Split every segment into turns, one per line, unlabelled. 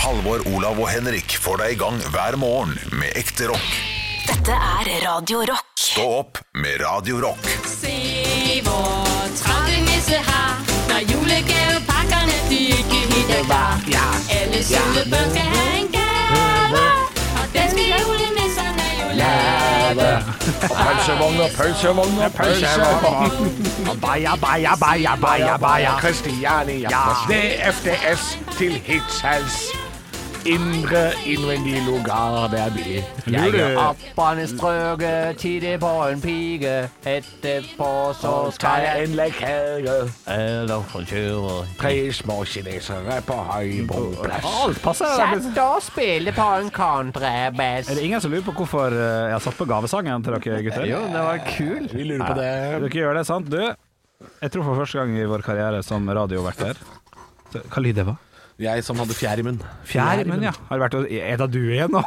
Halvor, Olav og Henrik får deg i gang hver morgen med ekte rock.
Dette er Radio Rock.
Stå opp med Radio Rock.
Se hvor travle nisse har Når julegavepakkerne de ikke hitter klar Alle søde børn skal have en gave Og den skal julenisserne jo lave
Pølsevogn og pølsevogn og pølsevogn.
Baja, baja, baja, baja, baja.
Christiania. DFDS til Hirtshals. Indre, innvendig lugar der vi
Jeg er
lurer.
appane strøket, tidlig på en pike. Etterpå så skal
Skal jeg
jeg
en lekkere?
Eller for kjøret.
Tre små kinesere på Høybro plass.
Alt passer.
Satt og spille på en kontrabass.
Er det ingen som lurer på hvorfor eh, jeg har satt på gavesangen til dere gutter?
Jo, det var kul.
Vi lurer på det.
Dere gjør det, sant? Du, jeg tror for første gang i vår karriere som radioverter Så, Hva lyd det var?
Jeg som hadde fjær i munnen.
Fjær, men ja. Har det vært Er det du igjen nå?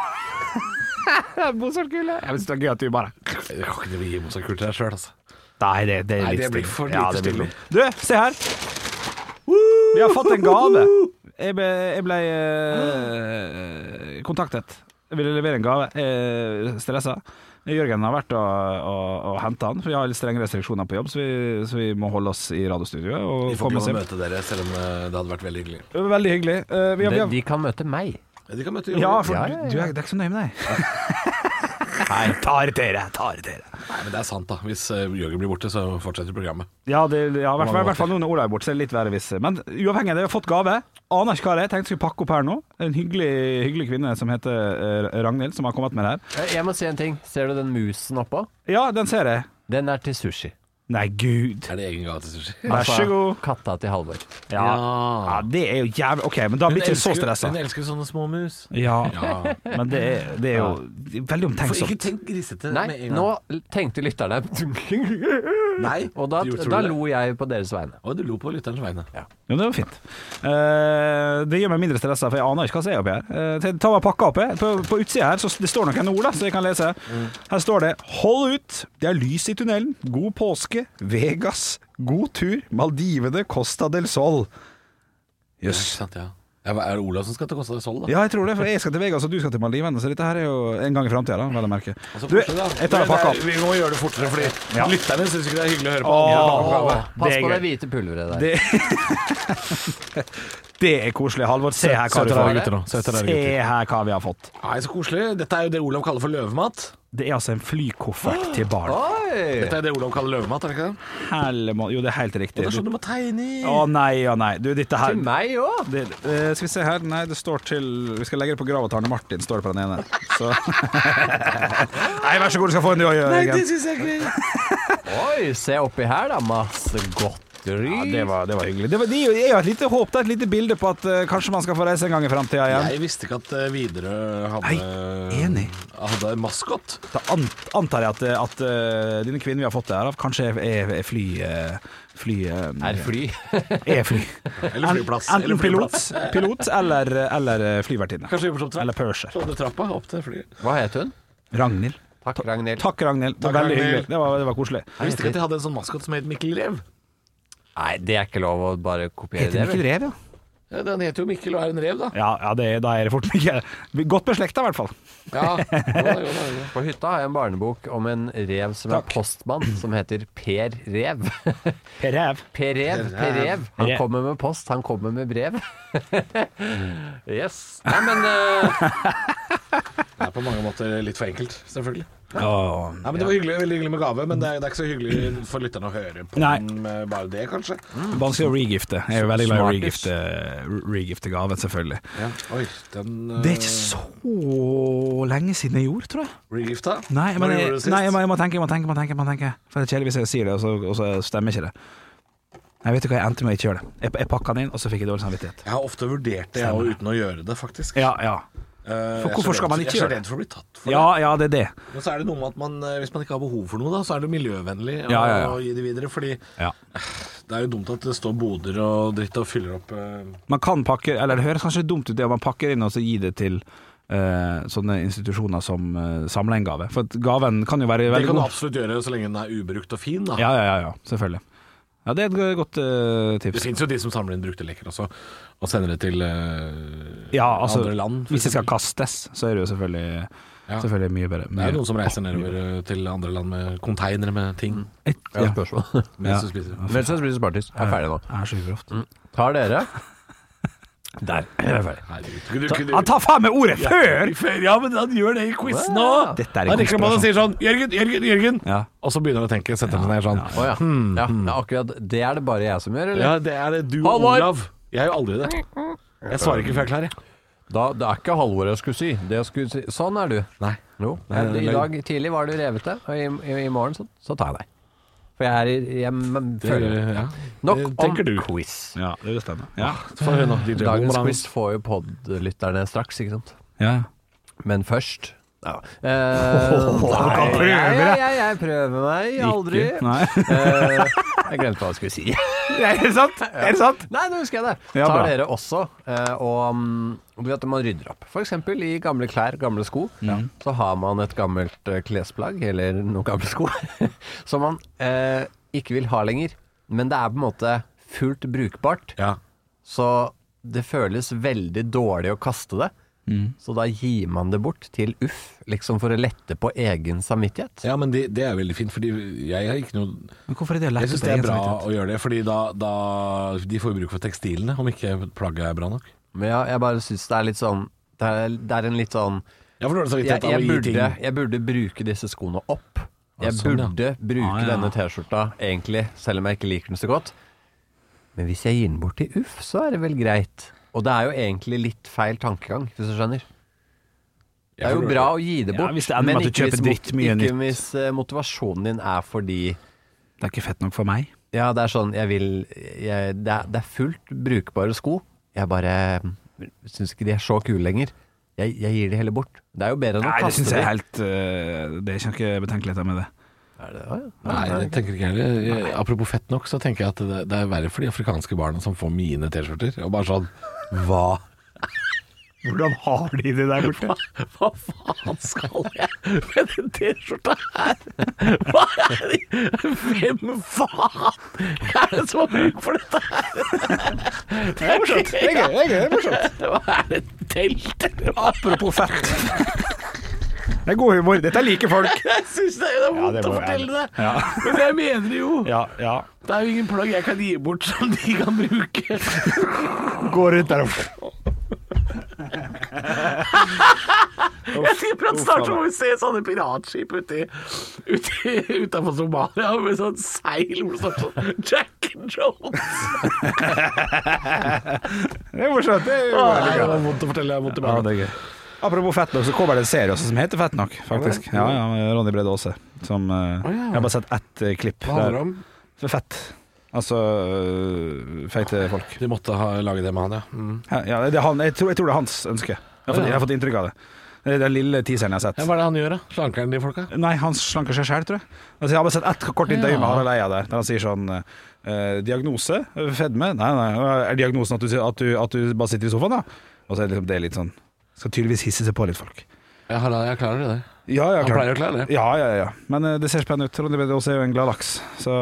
Mozartkule. Jeg syns det er gøy at du bare
Jeg kan ikke bli Mozart-kult her sjøl, altså.
Nei, det, det er
Nei,
litt
det blir
stille.
for
Ja,
lite
det blir
stille.
for- Du, se her. Vi har fått en gave. Jeg ble, jeg ble eh, kontaktet. Jeg ville levere en gave. Jeg stressa. Jørgen har vært og, og, og henta han, for vi har litt strenge restriksjoner på jobb, så vi, så vi må holde oss i radiostudioet. Og
Vi får ikke lov
komme
å
oss hjem.
møte dere, selv om eh, det hadde vært veldig hyggelig.
Veldig hyggelig. Eh, vi har, vi
De,
har,
de kan møte meg.
De kan møte
ja, for
Ja,
du,
ja, ja.
du er, det er ikke så nøye med deg. Nei, ta irritere, ta irritere.
Nei, men det er sant, da. Hvis eh, Jørgen blir borte, så fortsetter programmet.
Ja, det, ja i, hvert fall, i hvert fall nå når Ola er borte, så er det litt verre hvis Men uavhengig av det, vi har fått gave. Aner ikke hva det er. Tenkte jeg skulle pakke opp her nå. En hyggelig, hyggelig kvinne som heter eh, Ragnhild, som har kommet med det her.
Jeg må si en ting. Ser du den musen oppå?
Ja, den ser jeg.
Den er til sushi.
Nei, gud.
Er det egen gave til sushi?
Vær
Altså,
så god.
Katta til Halvor.
Ja. ja, det er jo jævlig OK, men da blir ikke jeg så stressa.
Hun elsker sånne små mus.
Ja,
Ja.
men det er, det er jo veldig omtenksomt.
tenk grisete
Nei, nå tenkte lytterne
Nei,
Og da,
gjorde- tror
da
du det?
lo jeg på deres vegne.
Å, du lo på lytterens vegne.
Jo, det var fint. Eh, det gjør meg mindre stressa, for jeg aner ikke hva som er oppi her. Eh, så jeg tar meg pakka oppi. På, på utsida her så det står noen ord, da, så jeg kan lese.
Mm.
Her står det 'Hold ut'. Det er lys i tunnelen. God påske. Vegas. God tur. Maldivene. Costa del Sol.
Yes.
Jøss.
sant, ja. Ja, hva Er det Olav som skal til Costa del Sol, da?
Ja, jeg tror det, for jeg skal til Vegas, og du skal til Maldivene, så dette her er jo en gang i framtida, da, vel å merke.
Altså,
Du,
fortsett, da.
jeg tar meg pakka opp.
Vi må gjøre det fortere, fordi
Ja.
lytterne syns ikke det er hyggelig å høre på.
Åh,
Pass
det er
på det
gøy.
hvite pulveret der.
Det, det er koselig. Halvor, se her hva du
Søte rare
får.
gutter nå. Søte rare
Se
gutter.
her hva vi har fått.
Nei, så koselig. Dette er jo det Olav kaller for løvemat.
Det er altså en
Ah,
flykoffert til barn.
Oi!
Dette er det Olav kaller løvemat, er det ikke det?
Hellemå. Jo, det er helt
Og
riktig.
det er sånn
Du-
du må tegne i.
Å nei, å nei. Du, dette her
Til meg òg!
det, eh, Skal vi se her. Nei, det står til Vi skal legge det på grava til Arne Martin, står det på den ene. Så Nei, vær så god, du skal få en du òg, Jørgen.
syns jeg ikke.
Oi, se oppi her, da. Masse godteri.
Ja, det, var, det var hyggelig. Det, var, det er jo et lite håp, det er et lite bilde på at eh, kanskje man skal få reise en gang i framtida igjen.
Jeg visste ikke at eh, Widerøe hadde
Nei, enig.
Hadde maskot.
Da an- antar jeg at, at eh, denne kvinnen vi har fått det her av, kanskje er, er, er fly... eh, fly eh,
Er fly.
er fly.
Eller flyplass.
Enten
Eller
pilot,
flyplass.
pilot eller, eller eh, flyvertinne.
Kanskje vi får sånn
Eller purser.
Sånn trappa opp til flyet.
Hva het hun?
Ragnhild.
Takk, Ragnhild.
Takk, Ragnhild. Det var
Takk,
veldig
Ragnhild.
hyggelig. Det var, det var koselig.
Jeg visste ikke at de hadde en sånn maskot som het Mikkel Rev.
Nei, det er ikke lov å bare kopiere
Heter
det.
den ikke
vel?
Rev, ja?
Ja, den heter jo Mikkel og er en rev, da.
Ja, ja det, da er det fort mye. Godt beslekta, i hvert fall.
Ja, jo da, jo da, jo da.
På hytta har jeg en barnebok om en rev som
Takk.
er postmann, som heter Per Rev.
Rev.
Per Rev, Per Rev. Han
Rev.
kommer med post, han kommer med brev. Yes. Nei, men eh,
Det er på mange måter litt for enkelt, selvfølgelig. Nei, men Det var hyggelig, veldig hyggelig med gave, men det er, det er ikke så hyggelig for lytterne å høre på
Nei.
den med bare det, kanskje.
Vanskelig å regifte. Jeg er jo veldig glad i å
Smartis.
regifte, regifte gaven, selvfølgelig.
Ja. Oi, den eh,
Det er ikke så lenge siden jeg gjorde, tror jeg.
regifta.
Nei, men
Når
jeg,
gjorde du det sist?
nei, jeg, må, jeg må tenke, jeg må tenke, jeg må tenke. Jeg må tenke. For det er kjedelig hvis jeg sier det, og så, og så stemmer ikke det. Nei, vet du hva, jeg endte med å ikke gjøre det. Jeg, jeg pakka den inn, og så fikk jeg dårlig samvittighet.
Jeg har ofte vurdert det, jeg, og uten å gjøre det, faktisk.
Ja, ja.
Eh,
For
jeg er så
hvorfor
redd-
skal man ikke
Jeg er
gjøre
så
det?
redd for å bli tatt for
Ja, ja, det er det.
det. Men så er det noe med at man, eh, hvis man ikke har behov for noe, da, så er det miljøvennlig å-
Ja, ja, ja.
å gi det videre. Fordi
Ja.
det er jo dumt at det står boder og dritt og fyller opp eh,
Man kan pakke, eller det høres kanskje dumt ut det om man pakker inn og så gir det til eh, sånne institusjoner som uh, samler en gave. For at gaven kan jo være
Det
veldig
kan du
god.
absolutt gjøre så lenge den er ubrukt og fin. Da.
Ja, ja, ja, ja, selvfølgelig. Ja, det er et godt eh,
Det
tips.
fins jo de som samler inn brukte leker også, og sender det til eh,
Ja, altså,
andre land, for
hvis det skal
eksempel.
kastes, så er det jo selvfølgelig,
Ja.
selvfølgelig mye bedre.
Det er jo noen som reiser nedover eh, til andre land med konteinere med ting
Jeg
Et,
har
ja.
et spørsmål.
mens
Ja.
du spiser.
Mens jeg spiser spartis. Jeg er ferdig nå.
Jeg er så uproft.
Mm.
Tar dere?
Der. Jeg er ferdig.
Herregud, kunne du- kunne du-
Han tar faen meg ordet før!
Ja, men han gjør det i quizen òg!
Dette er en
Han rekker på det og sier sånn 'Jørgen, Jørgen, Jørgen',
Ja.
og så begynner han å tenke. Setter han seg ned sånn.
Å ja. ja. ja. Akkurat. Det er det bare jeg som gjør, eller?
Ja, det er det du og
Halvor!
Olav. Jeg gjør aldri det. Jeg svarer ikke før jeg er klar, jeg.
Da, det er ikke Halvor jeg skulle si. Det jeg skulle si. Sånn er du.
Nei.
Jo.
Nei, nei,
I
nei.
dag tidlig var du revete, og i, i, i morgen så, så tar jeg deg. For jeg er i jeg, men, føler
ja.
Nok
det
om
tenker du.
quiz.
ja, det bestemmer. Ja.
Få høre nå, DJ
Dagens
Holmbrand.
quiz får jo podlytterne straks, ikke sant.
ja.
Men først ja. Eh, nei,
prøver
jeg,
jeg.
jeg, jeg prøver meg aldri.
Ikke. Nei.
Eh, jeg glemte hva jeg skulle si.
er det sant? Er det sant?
Nei, nå husker jeg det.
Ja,
Tar
bra.
dere også eh, og mm, du vet at man rydder opp. F.eks. i gamle klær, gamle sko. Så har man et gammelt eh, klesplagg eller noen gamle sko som man eh, ikke vil ha lenger. Men det er på en måte fullt brukbart,
Ja.
så det føles veldig dårlig å kaste det. Så da gir man det bort til uff, liksom for å lette på egen samvittighet.
ja, men det, det er veldig fint, fordi jeg har ikke noe
Men hvorfor er det
Jeg syns det er bra å gjøre det, fordi da, da de får jo bruk for tekstilene, om ikke plagget er bra nok.
Men ja, jeg bare syns det er litt sånn Det er, det er en litt sånn
Jeg får dårlig
jeg,
samvittighet av å
jeg,
gi ting.
burde, jeg burde bruke disse skoene opp. Jeg
sånn, ja.
burde bruke
Ah, ja.
denne T-skjorta, egentlig, selv om jeg ikke liker den så godt. Men hvis jeg gir den bort til Uff, så er det vel greit. Og det er jo egentlig litt feil tankegang, hvis du skjønner. Det er jo bra å gi det
Ja,
bort,
hvis det ender med
men
at du
ikke,
kjøper
hvis, mot-
drittmye
ikke
nytt.
hvis eh, motivasjonen din er fordi
Det er ikke fett nok for meg.
Ja, det er sånn, jeg vil jeg, det, er, det er fullt brukbare sko. Jeg bare syns ikke de er så kule lenger. Jeg, jeg gir de heller bort. Det er jo bedre enn å
Nei, det
kaste
syns
de.
jeg er helt øh, Det er ikke betenkeligheter med det.
Er det, ja, ja.
Nei, jeg tenker ikke heller. Jeg- Apropos fett nok, så tenker jeg at det, det er verre for de afrikanske barna som får mine T-skjorter. Og bare sånn Hva?
Hvordan har de det der borte?
Hva faen skal jeg med den T-skjorta her? Hva er det? Hvem faen er det som har bruk for dette her? Det er morsomt. Det er gøy. Det er morsomt. Hva er det? Telt? eller hva?
Apropos fett. Det er god humor. Dette liker folk.
Jeg syns det er
det
vondt å
må jeg-
fortelle det.
Ja.
Men jeg mener det jo.
Ja, ja.
Det er jo ingen plagg jeg kan gi bort som de kan bruke.
Gå rundt der og
Jeg tipper at snart så må vi se sånne piratskip uti, uti utafor Somalia med sånn seil hvor det står sånn Jack and Jones.
Det er morsomt. Det er jo
Nei,
veldig
det
gøy.
var vondt å fortelle. det er Vondt i
Ja,
magen.
det er gøy. Apropos fett nok, så kommer det en serie også som heter Fett nok, faktisk. Ja, ja, med Ronny Brede Aase. Som eh, Jeg har bare sett ett eh, klipp.
Hva handler det om?
For fett. Altså øh, feite folk.
De måtte ha, lage det med han, ja. Mm.
Ja, ja, det er han, jeg, tror, jeg tror det er hans ønske. Jeg har fått, jeg har fått inntrykk av det. Det er den lille teaseren jeg har sett.
Hva er det han gjør, da? Slanker han de folka?
Nei, han slanker seg sjøl, tror jeg. Altså, jeg har bare sett ett kort intervju med
Ja.
Harald Eia der, der han sier sånn eh, Diagnose? Fedme? Nei, nei, er diagnosen at du, at, du, at du bare sitter i sofaen, da? Og så er det, liksom, det er litt sånn Skal tydeligvis hisse seg på litt, folk.
Jeg, har, jeg klarer det der.
Ja, ja,
Han
klart.
pleier å klare det.
Ja, ja, ja. Men eh, det ser spennende ut. Ronny Brede Aase er jo en glad laks, så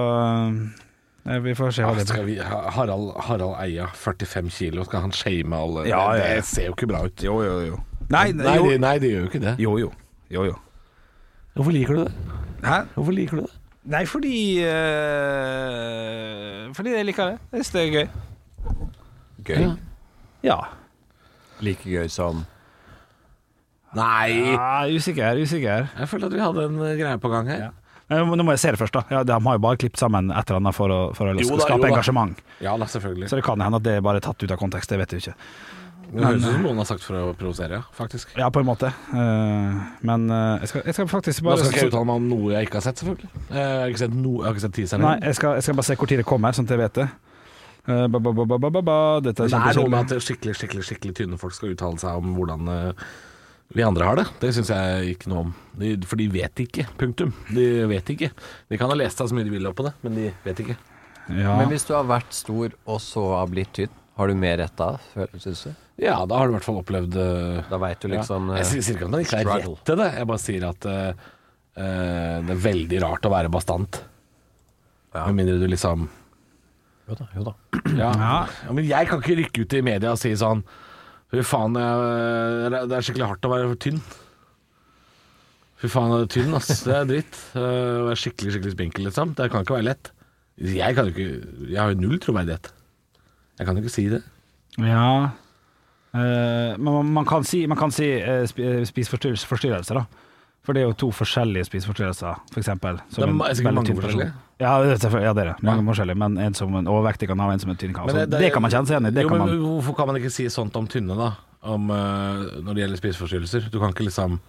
eh, vi får se hva det blir.
Ah, Skal vi, ha- Harald, Harald Eia, 45 kilo, skal han shame alle?
Ja,
det,
ja, ja.
det ser jo ikke bra ut.
Jo, jo, jo. Nei,
Nei,
jo.
det- nei, det gjør jo ikke det.
Jo, jo. Jo, jo.
Hvorfor liker du det?
Hæ?
Hvorfor liker du det?
Nei, fordi eh, Fordi jeg liker det. Jeg syns det er gøy.
Gøy.
Ja.
Ja.
Like gøy som
Nei!
ja usikker, usikker.
Jeg følte at vi hadde en eh, greie på gang her.
Ja. Nei, Nå må- nå må jeg se det først, da. Ja, de har jo bare klippet sammen et eller annet for å, for å liksom
Jo da, jo
skape
da.
engasjement.
Ja, da, selvfølgelig.
Så det kan hende at det er bare tatt ut av kontekst, det vet du ikke.
det høres ut som noen har sagt for å provosere, ja, faktisk.
Ja, på en måte. Eh, men eh, jeg, skal, jeg skal faktisk
Nå
bare
skal ikke jeg uttale meg om noe jeg ikke har sett, selvfølgelig. Eh, Jeg har ikke sett, no, jeg har ikke sett teaseren.
Nei,
heller.
jeg skal, jeg skal bare se hvor tid det kommer, sånn at jeg vet det. Eh, ba, ba, ba, ba, ba, ba, ba. Dette
det
er
er noe
kjempekjedelig.
med at skikkelig skikkelig, skikkelig tynne folk skal uttale seg om hvordan eh, vi andre har det. Det syns jeg ikke noe om. De, for de vet ikke. Punktum. De vet ikke. De kan ha lest seg så mye de vil opp på det, men de vet ikke.
Ja.
Men hvis du har vært stor og så har blitt tynn, har du mer rett da, føl- synes du?
Ja, da har du i hvert fall opplevd eh,
Da veit du liksom
ja.
eh,
Jeg sier- sier ikke at man ikke er
struggle.
rett til det, jeg bare sier at eh, eh, det er veldig rart å være bastant.
Ja.
Med mindre du liksom
Jo da, jo da.
Ja.
Ja.
ja, men jeg kan ikke rykke ut i media og si sånn Fy faen, jeg, det er skikkelig hardt å være tynn. Fy faen, jeg er tynn, ass. Det er dritt. Eh, Og jeg er skikkelig, skikkelig spinkel, liksom. Det kan ikke være lett. Jeg kan jo ikke Jeg har jo null troverdighet. Jeg kan jo ikke si det.
Ja Eh, Men man- man kan si, man kan si eh, spi- eh, spiseforstyrrelser, forstyrrelser, da. For det er jo to forskjellige spiseforstyrrelser, f.eks.
Det er ma- sikkert mange forskjellige.
Ja, det, er selvfølgelig- ja, det er det. Mange forskjellige. Men en som en overvektig kan ha, og en som en tynn kan ha.
Men
Så Det, kan man kjenne seg igjen i. Det
jo,
kan
men
man.
Hvorfor kan man ikke si sånt om tynne, da? Om, eh, når det gjelder spiseforstyrrelser. Du kan ikke liksom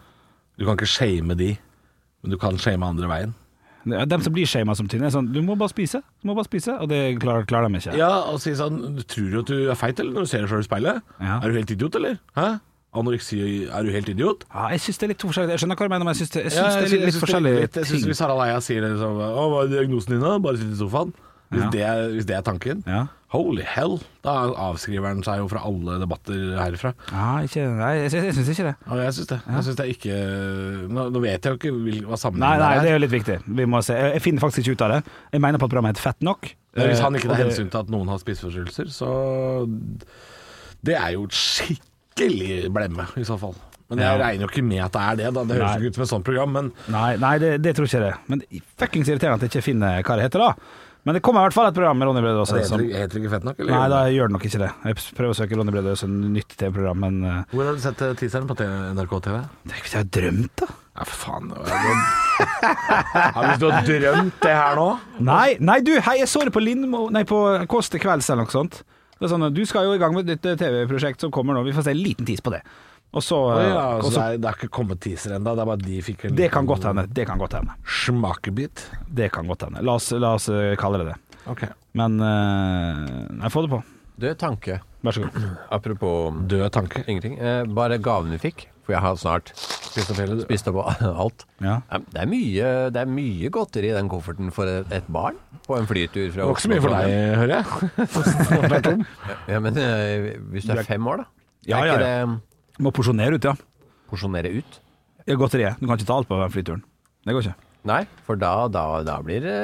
Du kan ikke shame de, men du kan shame andre veien.
Ja, Dem som blir shama som tynne, er sånn Du må bare spise, du må bare spise. Og det klarer, klarer de ikke.
Ja, og si sånn Du tror jo at du er feit, eller? Når du ser deg sjøl i speilet?
Ja.
Er du helt idiot, eller? Hæ? Anoreksi, er du helt idiot?
Ja, jeg syns det er litt to forskjellige Jeg skjønner hva du mener, men jeg syns det, jeg
Ja,
synes det er
jeg
litt,
synes
litt forskjellige
Jeg syns
ting.
hvis Harald Eia sier det liksom Å, hva er diagnosen din, da? Bare sitt i sofaen. Hvis,
Ja.
det er, hvis det er tanken.
Ja.
Holy hell! Da avskriver han seg jo fra alle debatter herfra.
Ja, ikke, nei, jeg, synes- jeg syns ikke det.
Ja, jeg syns det. Jeg synes det er ikke Nå, nå vet jeg jo ikke hvil- hva
Nei,
sammenhengen
nei, det er jo litt viktig. Vi må se. Jeg jeg finner faktisk ikke ut av det. Jeg mener på at programmet heter Fett nok.
Men Hvis han
Eh,
ikke tar
og det-
hensyn til at noen har spiseforstyrrelser, så Det er jo et skikkelig blemme, i så fall. Men jeg
Ja.
regner jo ikke med at det er det, da. Det høres
Nei.
jo ikke ut som et sånt program, men
Eh, Nei, nei det, det tror ikke jeg det. Men det er fuckings irriterende at jeg ikke finner hva det heter, da. Men det kommer i hvert fall et program med Ronny Brede Aase.
det heter,
Som,
ikke- heter det ikke fett nok, eller?
nei, da gjør det nok ikke det. Jeg prøver å søke Ronny Brede Aase nytt TV-program, men eh,
Hvor har du sett eh, teaseren på NRK TV?
det er ikke det jeg har drømt, da.
Ja, for faen. det var- Ja, hvis du har drømt det her nå
Nei, nei du, hei, jeg så det på Lindmo Nei, på Kåss til kvelds eller noe sånt. Det er sånn, Du skal jo i gang med ditt eh, TV-prosjekt som kommer nå, vi får se en liten tis på det. Og så, eh,
ja,
og
altså,
så
det, er, det er ikke kommet teaser ennå. Det er bare at de fikk en
Det
liten
kan godt hende. Det kan godt hende.
smakebit.
Det kan godt hende. La oss, la oss eh, kalle det det.
Ok.
Men eh, Nei, få det på.
Du, tanke.
Vær så god.
Apropos mm,
Død tanke.
ingenting. Eh, bare gavene vi fikk, for jeg har snart spist opp alt.
Ja.
Eh, Det er mye, det er mye godteri i den kofferten for et, et barn på en flytur fra
Det var ikke så mye for
til Trondheim.
deg, hører jeg.
Ja, men eh, hvis du er fem år, da.
Ja,
er
ja,
ikke
ja.
det mm,
Må porsjonere ut, ja.
porsjonere ut?
Ja, Godteriet. Du kan ikke ta alt på den flyturen. Det går ikke.
Nei, for da, da, da blir det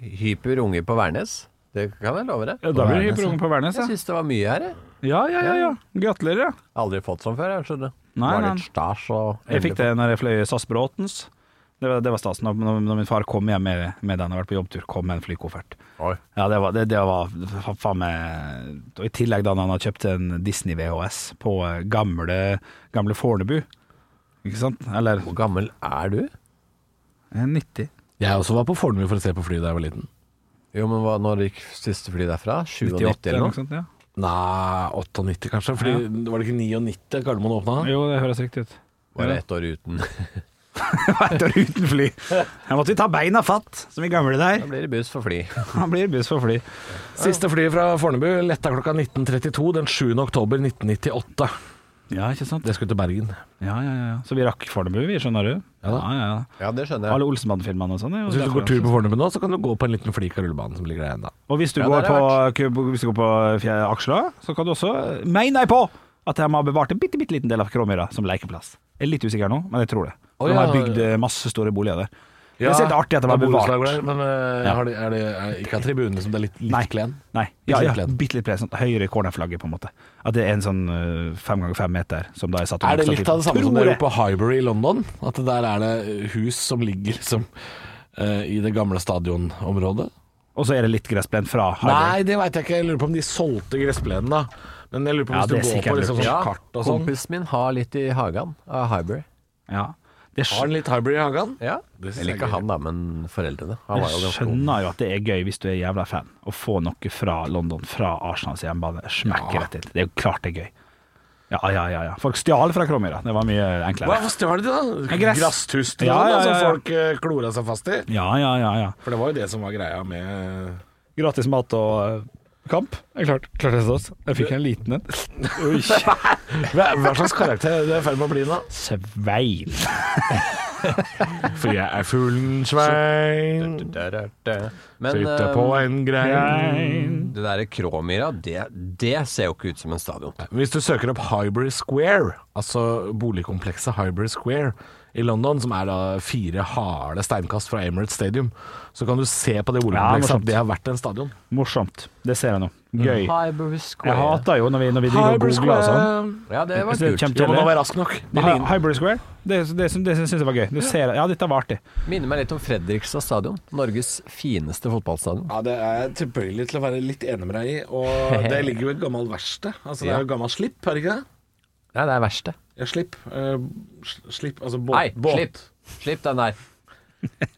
hyper unge på Værnes. Det kan jeg love deg.
da blir det
Værnes,
hyperunge på Værnes,
Jeg
ja.
syns det var mye her, jeg.
Ja, ja, ja. ja. Gratulerer, ja.
Aldri fått sånn før, jeg skjønner.
Nei,
det
nei.
var litt stas og
Jeg fikk det når jeg fløy SAS Bråtens. Det var, det var stas. Når, når når min far kom hjem med, med den og vært på jobbtur, kom med en flykoffert.
Oi.
Ja, det var, det, det var fa- faen meg Og i tillegg da han hadde kjøpt en Disney VHS på eh, gamle, gamle Fornebu. Ikke sant? Eller
Hvor gammel er du?
eh, 90.
Jeg også var på Fornebu for å se på fly da jeg var liten.
Jo, men hva, når gikk siste fly derfra? 97
98 eller
eller
noe
noe?
sånt. ja
Nei, 98 kanskje. Fordi Var det ikke 99 Gardermoen åpna?
Jo, det høres riktig ut.
Bare ett år uten.
Ett år uten fly. Jeg måtte jo ta beina fatt, som i gamle
Da
der.
blir det buss for fly.
Han blir buss for fly.
Siste fly fra Fornebu letta klokka 19.32 den 7. oktober 1998.
Ja, ikke sant?
Det skulle til Bergen.
Ja, ja, ja. Så vi rakk Fornebu, vi, skjønner du?
Ja da.
ja,
Ja, det skjønner jeg.
Alle Olsenbanden-filmene og sånn. er jo
Hvis du
derfra.
går tur på Fornebu nå, så kan du gå på en liten flik av rullebanen som ligger der ennå.
Og hvis du,
Ja,
går
der
på,
har
hvis du går på fje- Aksla, så kan du også Mener jeg på at de har bevart en bitte, bitte liten del av Kråmyra som lekeplass. Jeg er litt usikker nå, men jeg tror det.
Å,
De
ja.
har bygd eh, masse store boliger der. det er litt artig at det var
borettslag
bevart.
Der, men eh,
Ja.
har de, er det er det ikke av tribunene som det er litt,
Nei.
litt klen?
Nei. Ja, ja,
litt plen.
bitte litt plen. Sånn høyere cornerflagget, på en måte. At det er en sånn eh, fem ganger fem meter som da er satt opp
Er det
stativ.
litt av det samme som
Tror
dere
jeg.
på Highbury i London? At det der er det hus som ligger liksom eh, i det gamle stadionområdet?
Og så er det litt gressplen fra Harvey.
Nei, det veit jeg ikke. Jeg lurer på om de solgte gressplenen, da. Men jeg lurer på
Ja,
hvis
det
du går
er
på
sikkert
liksom,
lurt.
sånn
Ja,
kart og sånn.
kompisen min har litt i hagen av Highbury.
Ja. Det
Har
skj-
han litt Highbury i hagen?
Ja.
Det synes
Eller
jeg er
ikke han, da, men foreldrene. Han var jo
jeg
ganske ung.
skjønner jo at det er gøy hvis du er jævla fan, å få noe fra London, fra Arsenals hjemmebane. Smekk
Ja.
rett inn. Det er jo klart det er gøy. Ja, ja, ja. ja. Folk stjal fra Kråmyra. Det var mye enklere.
Hvorfor stjal de da?
Ja, gress.
Grasstuster
Ja,
og sånn, da,
ja, ja, ja.
som folk eh, klora seg fast i.
Ja, ja, ja. ja.
For det var jo det som var greia med eh,
Gratis mat og eh, kamp. Jeg klarte klart det stas. Jeg fikk en liten en. Oi.
Hva, hva slags karakter er det i ferd med å bli nå?
Svein.
For jeg er fuglen Svein,
Men
sitter
eh,
på en grein
det der Kråmyra, det, det ser jo ikke ut som en stadion.
Hvis du søker opp Highbury Square, altså boligkomplekset Highbury Square
i London, som er da fire harde steinkast fra Emirates Stadium. Så kan du se på det
Ja,
oljekomplekset
morsomt.
at det har vært en stadion.
Morsomt. Det ser jeg nå. Gøy.
Hyber
Jeg
Square.
hata jo når vi, når vi driver og googla
altså.
og sånn.
Ja, det var
Så det
kult.
kjempe-
Ja, men nå var jeg rask nok. Det
Hy-
ligner-
Hyber Square. Det, det, det, det syns jeg var gøy. Du ser, ja, dette var artig.
Minner meg litt om Fredrikstad stadion. Norges fineste fotballstadion.
Ja, det er jeg tilbøyelig til å være litt enig med deg i. Og det ligger jo i et gammelt verksted. Altså, det er jo gammelt slipp, er det ikke det?
Nei, det er verste.
Ja, slipp. eh, sl- slipp, altså båt.
Nei,
båt.
slipp. Slipp den der.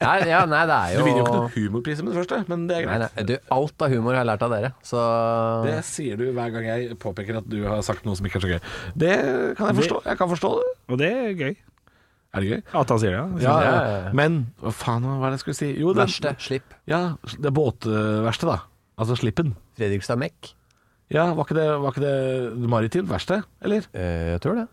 Nei, ja, nei, det er
Du
jo
vinner jo ikke noen humorpris med det første, men det er
Nei,
greit.
nei, du, Alt av humor har jeg lært av dere, så
Det sier du hver gang jeg påpeker at du har sagt noe som ikke er så gøy. Det kan jeg forstå. Jeg kan forstå det.
Og det er gøy.
Er det gøy?
At han sier det.
ja,
Ja.
ja,
ja, ja.
Men hva faen hva er det jeg skulle si? Jo, den,
Verste. Slipp.
Ja, det båtverkstedet, da. Altså slippen.
Fredrikstad Mek.
Ja, var ikke det, var ikke det maritimt verksted, eller?
Eh, jeg tror det.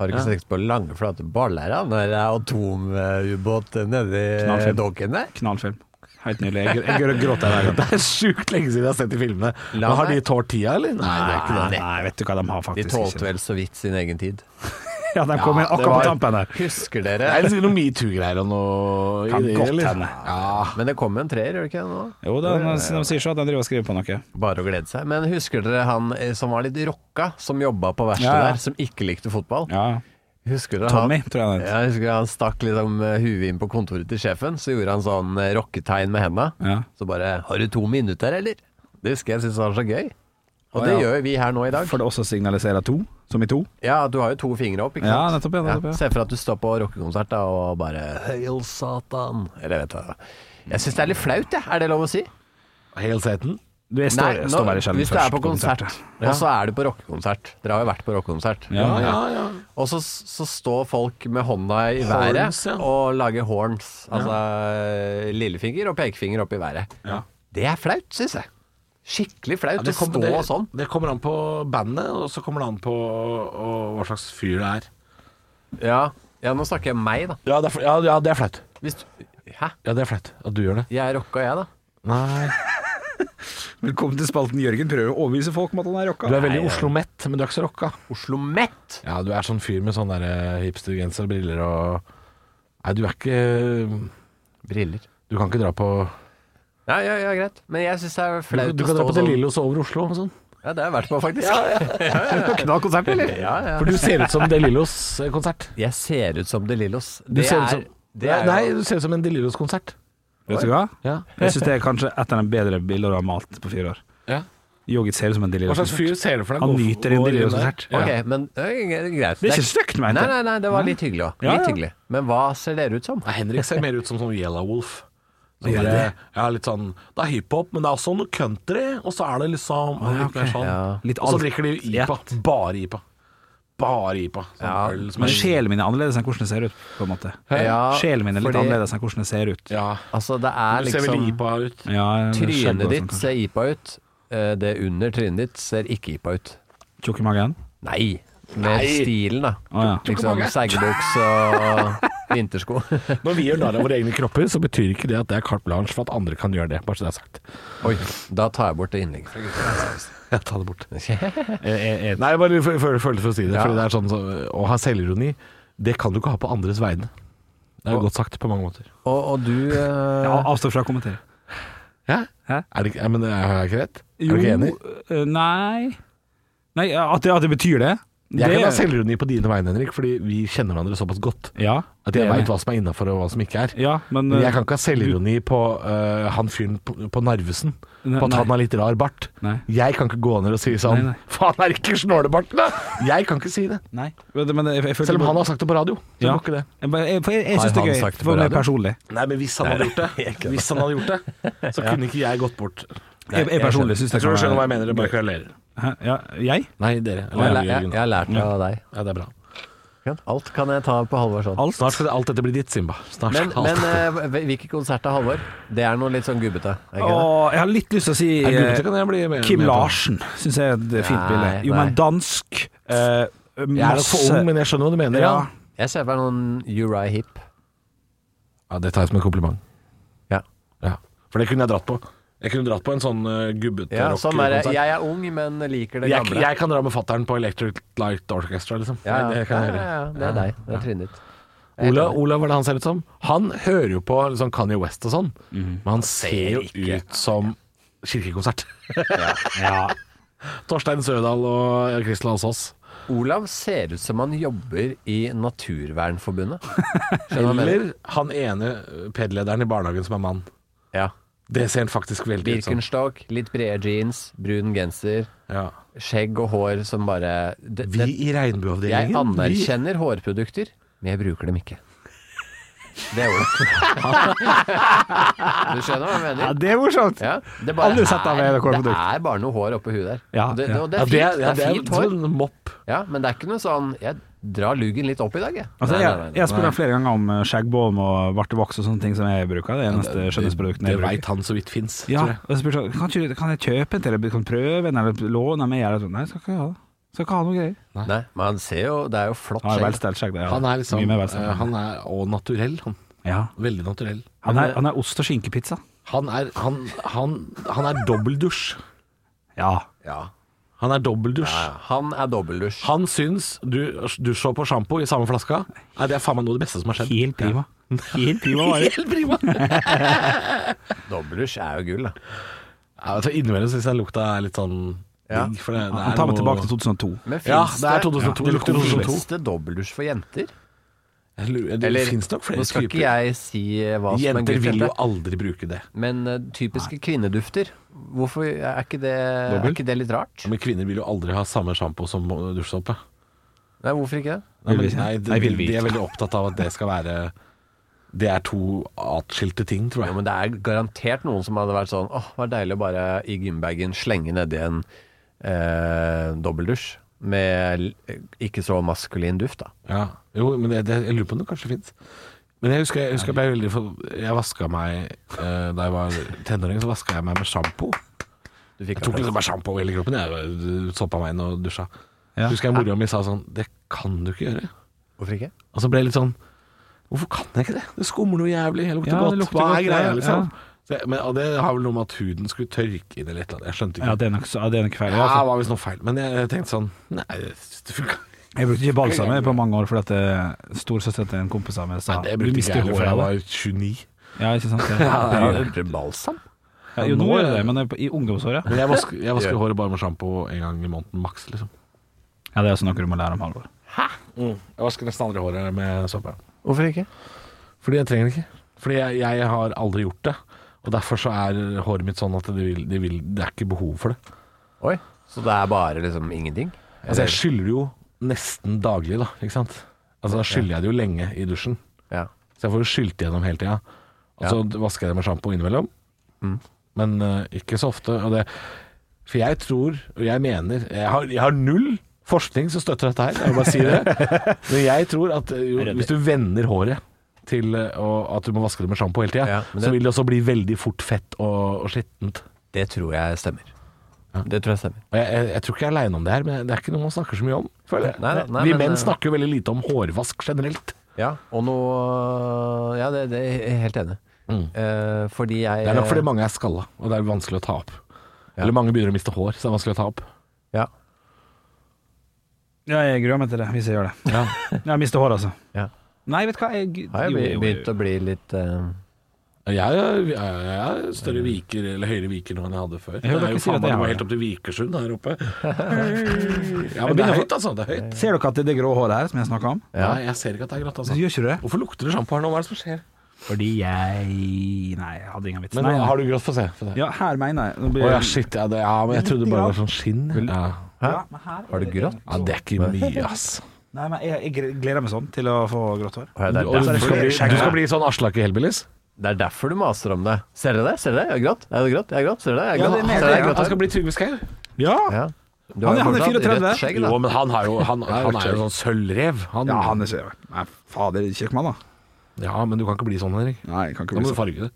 Har ikke sett på lange, flate baller da, når det er atomubåt nedi
Knallfin.
dokken der?
Knallfilm. Helt nydelig. Jeg, gr- jeg gråter hver gang.
Det er sjukt lenge siden jeg har sett de filmene.
La
Men har de
meg-
tålt tida, eller? Nei, det er ikke det.
Nei, nei, vet du hva de har
De
faktisk
tålte vel så vidt sin egen tid.
Ja, de kom inn akkurat på tampen der.
Husker
Er
dere?
det sikkert noe metoo-greier og noe
Kan
i det,
godt
eller?
hende.
Ja.
Men det kom jo en treer, gjør det ikke det nå?
Jo da, de, de sier så at de driver og skriver på noe.
Bare å glede seg. Men husker dere han eh, som var litt rocka, som jobba på verkstedet
Ja, ja.
der, som ikke likte fotball?
Ja.
Husker dere
Tommy,
han?
tror jeg han het.
Ja, jeg husker han stakk liksom eh, huet inn på kontoret til sjefen, så gjorde han sånn eh, rocketegn med henda.
Ja.
Så bare 'Har du to minutter, eller?' Det husker jeg syntes var så gøy. Og
Å,
det
ja.
gjør vi her nå i dag.
For det også signaliserer to, som i to.
Ja, du har jo to fingre opp, ikke
Ja,
sant?
nettopp, ja, nettopp, ja.
Se for deg at du står på rockekonsert da, og bare 'Hail Satan', eller vet du Jeg syns det er litt flaut, jeg. Er det lov å si?
Hail Satan.
Du, jeg står, jeg
nå-
står veldig sjelden
hvis du er
først
på konsert,
Ja.
og så er du på rockekonsert Dere har jo vært på rockekonsert.
Ja, ja.
Og så, så står folk med hånda i været
Horns, ja.
og lager horns. Altså lillefinger og pekefinger opp i været. Det er flaut, syns jeg. Skikkelig flaut å
kommer-
stå sånn.
det kommer an på bandet, og så kommer det an på og, hva slags fyr det er.
Ja. ja, nå snakker jeg om meg, da.
Ja, det er, ja, ja, det er flaut.
Hvis du, hæ?
Ja, det er flaut at du gjør det.
Jeg er rocka, jeg, da.
Nei.
Velkommen til spalten Jørgen prøver å overbevise folk om at han er rocka.
Du er veldig Oslo-mett, men du er ikke så rocka.
Oslo Met!
Ja, du er sånn fyr med sånn derre hipstergenser og briller og Nei, du er ikke
Briller.
Du kan ikke dra på
Ja, ja, ja, greit. Men jeg syns det er
Du,
flaut
du kan dra
å
på
stå
De
sånn.
Lillos over Oslo og sånn.
Ja, det har jeg vært på, faktisk.
Knallkonsert, eller?
Ja, ja.
For du ser ut som De Lillos eh, konsert.
Jeg ser ut som De Lillos.
Du
Det
ser ut
er,
som
det er
Nei,
jo
du ser ut som en De Lillos konsert.
Vet du hva?
Ja.
Jeg syns det er kanskje et av de bedre bildene du har malt på fire år.
Ja.
Joggit ser ut som en
Hva
delirious.
slags fyr ser du for deg?
Han
går for-
nyter en
går inn
delirious
der?
konsert.
Ok, men det er greit.
Det er ikke stygt, mente
Nei,
jeg.
nei, nei, det var litt hyggelig òg.
Ja,
Litt
ja.
hyggelig. Men hva ser dere ut som?
Nei, Henrik ser mer ut som sånn Yellow Wolf. Sånn der, ja, litt sånn, det er hiphop, men det er også noe country, og så er det liksom
Ah,
litt mer sånn.
Ja.
Litt
Og så
alt.
drikker de jo IPA. Bare IPA. Bare IPA. Sånn
Ja,
øl som
Men
er
sjelen min er annerledes enn hvordan det ser ut, på en måte.
Ja,
sjelen min er litt
fordi-
annerledes enn hvordan det ser ut.
Ja,
Altså, det er
du ser veldig
liksom
IPA ut.
Ja,
Trynet
skjegg og sånn,
ditt
kanskje.
ser IPA ut. Eh, Det under trynet ditt ser ikke IPA ut.
Tjukk i magen?
Nei. Med stilen, da.
Å ja.
Liksom seggebuks og vintersko.
Når vi gjør narr av våre egne kropper, så betyr ikke det at det er carte blanche for at andre kan gjøre det. Bare så det er sagt.
Oi, da tar jeg bort det innlegget. fra gutta.
Ja, ta det bort. Nei, jeg bare føl- føl- følte for å si det.
Eh, Ja.
Fordi det er sånn så, Å ha selvironi, det kan du ikke ha på andres vegne. Det er jo godt sagt på mange måter.
Og, og du eh,
Ja, avstå fra å kommentere.
Hæ?
Hæ?
Er det, ikke- ja, men har jeg ikke rett? er du ikke enig?
øh, nei Nei, at det, at det betyr det?
Jeg
det
kan ha selvironi på dine vegne, Henrik, fordi vi kjenner hverandre såpass godt.
Ja,
At jeg
det er
veit
det.
hva som er innafor og hva som ikke er.
Ja, men,
Men jeg kan ikke ha selvironi på øh, han fyren på, på Narvesen,
Ne-
på at
eh, nei.
han har litt rar bart.
Nei.
Jeg kan ikke gå ned og si sånn
Nei, nei.
Faen, er det ikke snålebart, da?! Jeg kan ikke si det.
Nei. Men, det- men eh, jeg, jeg føler
Selv om han har sagt det på radio. Så
Ja.
går ikke det.
Jeg, bare- jeg, for jeg,
Har
jeg syns det er
han
gøy,
sagt det på
for meg
radio?
personlig.
Nei, men hvis han hadde gjort det, hvis han hadde gjort det så kunne ikke jeg gått bort.
Jeg, jeg personlig syns det
Jeg tror du
kan
skjønner hva jeg
være-
mener, det bare kverulerer.
Hæ? Ja, jeg?
Nei, dere.
jeg,
Eller,
lær- jeg, jeg har lært det av deg.
Ja, det er bra.
Alt kan jeg ta på Halvorsson.
Alt?
Snart skal det, alt dette bli ditt, Simba. Snart
Men,
skal alt
men eh, hvilke konserter, Halvor? Det er noe litt sånn gubbete. er ikke det?
Åh, jeg har litt lyst til å si
Jeg googlet,
eh,
kan jeg bli med,
Kim
med på.
Larsen, syns jeg er et fint
Nei,
bilde. Jo,
nei.
men dansk eh,
Jeg er nok
Masse
for ung, men jeg skjønner hva du mener.
ja.
Jeg ser for meg noen Uri Hip.
ja Det tar jeg som en kompliment.
Ja,
Ja.
For det kunne jeg dratt på. Jeg kunne dratt på en sånn uh, gubbete
ja sånn er det.
rockekonsert.
Jeg er ung, men liker det
Jeg,
gamle.
jeg kan dra med fattern på Electric Light Orchestra, liksom.
ja,
Det
ja,
kan jeg
ja,
gjøre.
ja, det er deg. Det er trinnet ditt.
Ola, Olav, hva er det han ser ut som? Han hører jo på liksom Kanye West og sånn,
Mhm.
men han ser jo ut som kirkekonsert. Torstein Sødal og eh, Kristel Alsås.
Olav ser ut som han jobber i Naturvernforbundet.
Eller han ene PED-lederen i barnehagen som er mann.
Ja.
Det ser han faktisk veldig ut som.
Birkenstock, litt brede jeans, brun genser,
Ja.
skjegg og hår som bare det,
Vi
det,
i
Jeg
regnbueavdelingen vi-
anerkjenner hårprodukter, men jeg bruker dem ikke. Det er Olav. Du skjønner hva jeg
Ja,
mener?
det er morsomt!
Ja, det, bare
Aldri sett av
er,
med
det
hårprodukt.
er bare noe hår oppå huet der.
Ja,
Og det,
ja.
og det
Ja,
er fint,
det er, ja,
det er fint hår,
sånn mopp.
ja, men det er ikke noe sånn Jeg drar lugen litt opp i dag, jeg.
Altså,
Nei,
jeg,
nei, nei,
jeg har spurt ham flere ganger om eh, skjeggbånd og bartevoks og sånne ting som jeg bruker. Det er eneste skjønnhetsproduktene
Det
jeg bruker.
veit han så vidt fins.
Ja, og så spurte han kan, ikke du- kan jeg kjøpe en til deg, kan du prøve en, eller låne en med jeg gjør det?» Nei, jeg skal ikke ha det. Skal ikke ha noe greier.
nei. Nei, men han ser jo Det er jo flott
Han har
skjegg.
velstelt skjegg. det, ja.
Han er liksom
Mye mer velstelt.
eh, Han er og naturell, han.
Ja.
Veldig naturell.
Han er, han er ost- og skinkepizza.
Han er, han, han, han er dobbeldusj.
Ja.
Han er dobbeldusj.
Han er dobbeldusj.
Han syns du dusj og på sjampo i samme flaska Nei, det er faen meg noe av det beste som har skjedd.
Helt prima. Helt prima vare.
Helt prima!
Dobbeldusj er jo gull, da.
Ja, vet du, Innimellom syns jeg lukta er litt sånn digg, for det, det
Han
er
tar meg
noe-
tilbake til 2002.
Men
Ja,
finnes
det er 2002. Det lukter 2002.
Finnes det dobbeldusj for jenter?
Jeg lurer- Det
Eller-
finnes nok
Nå
flere
skal ikke
typer.
jeg si eh, hva som er
Jenter vil jo
gulltempet,
aldri bruke det.
men eh, typiske kvinnedufter. Hvorfor er ikke det, er
Dobbel?
ikke det litt rart?
Men kvinner vil jo aldri ha samme sjampo som dusjsåpe.
Nei, hvorfor ikke det?
Nei,
Vil
men,
vi-
nei,
Nei,
de,
vil vi
de er
ikke.
veldig opptatt av at det skal være Det er to atskilte ting,
Jo,
tror jeg.
men det er garantert noen som hadde vært sånn Åh, det var deilig å bare i gymbagen slenge nedi en eh, dobbeldusj med l- ikke så maskulin duft, da.
Ja. Jo, men det, det, jeg lurer på om det kanskje fins. Men jeg husker jeg, husker jeg ble veldig for, Jeg vaska meg eh, da jeg var tenåring, så vaska jeg meg med sjampo.
Du fikk
Jeg tok
akkurat-
liksom bare sjampo i hele kroppen, jeg soppa meg inn og dusja.
Ja.
Husker jeg mora mi sa sånn Det kan du ikke gjøre.
Hvorfor ikke?
Og så ble jeg litt sånn Hvorfor kan jeg ikke det? Det skummer noe jævlig. Jeg lukter
Ja, det
godt.
lukter
Hva er
godt,
greia,
ja,
liksom?
ja.
Så jeg- Men, og det har vel noe med at huden skulle tørke inn eller et eller annet. Jeg skjønte ikke.
Ja, det er nok, ja, det er nok feil.
Ja, det
Altså.
var visst noe feil. Men jeg, jeg tenkte sånn Nei, det funka.
Jeg brukte ikke balsam på mange år fordi at eh, storesøsteren til en kompis av meg sa
Det
du
brukte ikke
mister
jeg
håret
før jeg
av det.
var 29.
Ja, ikke sant? Det-
balsam?
Ja, jo, nå er det det, men det er på- i ungdomsåret.
Men jeg vasker, jeg vasker håret bare med sjampo en gang i måneden maks, liksom.
Ja, det er også noe du må lære om Halvor. Mm,
Jeg vasker nesten aldri håret med såpe.
Hvorfor ikke?
Fordi jeg trenger det ikke. Fordi jeg, jeg har aldri gjort det. Og derfor så er håret mitt sånn at det, vil, det, vil, det er ikke behov for det.
Oi, så det er bare liksom ingenting?
Altså, jeg skyller jo nesten daglig, da. Ikke sant. Altså, da skyller jeg det jo lenge i dusjen.
Ja.
Så jeg får jo skylt gjennom hele tida. Og så vasker jeg det med sjampo innimellom.
Mm.
Men eh, ikke så ofte. Og det, for jeg tror, og jeg mener jeg har, jeg har null forskning som støtter dette her, jeg må bare si det. Men jeg tror at eh, jo, hvis du vender håret til eh, å- at du må vaske det med sjampo hele tida,
Ja, men det-
så vil det også bli veldig fort fett og, og skittent.
Det tror jeg stemmer. Det tror jeg stemmer.
Og jeg, jeg, jeg tror ikke jeg er aleine om det her, men det er ikke noe man snakker så mye om. Føler jeg.
Nei, nei,
Vi
men, eh,
menn snakker jo veldig lite om hårvask generelt.
Ja, og nå Ja, det, det er jeg helt enig. Eh, fordi jeg
Det er nok fordi mange er skalla, og det er vanskelig å ta opp. Eller mange begynner å miste hår, så det er vanskelig å ta opp.
ja,
Ja, jeg gruer meg til det, hvis jeg gjør det.
Ja.
Jeg mister håret, altså.
ja.
Nei, vet du hva jeg,
Har jeg
jo,
be-
jo,
begynt å bli litt eh,
Jeg er- jeg er større viker, eller høyere viker nå enn jeg hadde før. Det
hører
er
dere
jo
si at
faen meg
jeg
det
har
var helt
det.
opp til Vikersund her oppe. Ja, men det er høyt, altså. Det er høyt.
Ser dere at det, det grå håret her som jeg snakka om?
Nei, jeg ser ikke at det er grått,
Så
altså.
gjør ikke du det?
Hvorfor lukter det sjampo her nå? Hva er det som skjer?
Fordi jeg Nei, jeg hadde ingen vits.
Men
Nei, nei.
har du grått? Få se. Få se.
Ja, her mener jeg Nå
Å
blir
ja, shit. Ja, det, ja, men jeg trodde det bare var sånn skinn. Ja.
Ja, men her er
Har du
det-
grått?
ja, det er ikke mye, ass.
Nei, men jeg, jeg gleder meg sånn til å få grått hår.
Å ja,
Du,
det,
og
er
du,
derfor,
skal bli, du skal bli sånn Aslak i Hellbillies?
det er derfor du maser om det. Ser dere det? Ser dere det? Jeg har grått. Jeg har grått. Jeg har grått. Ser dere det? Jeg
Ja,
har grått.
det er mer
Ser dere det? Jeg har
Han
grått
skal bli Trygve Skau?
Ja!
Ja. Du
Han er-
har
han er
fortsatt rødt
34.
skjegg, da.
Jo, men han, har jo, han, han er jo sånn sølvrev. Han,
Ja, han er så Nei, fader, Kirkemann, da.
ja, men du kan ikke bli sånn, Henrik.
Nei, jeg kan ikke
Da må
bli
du
sånn.
farge det.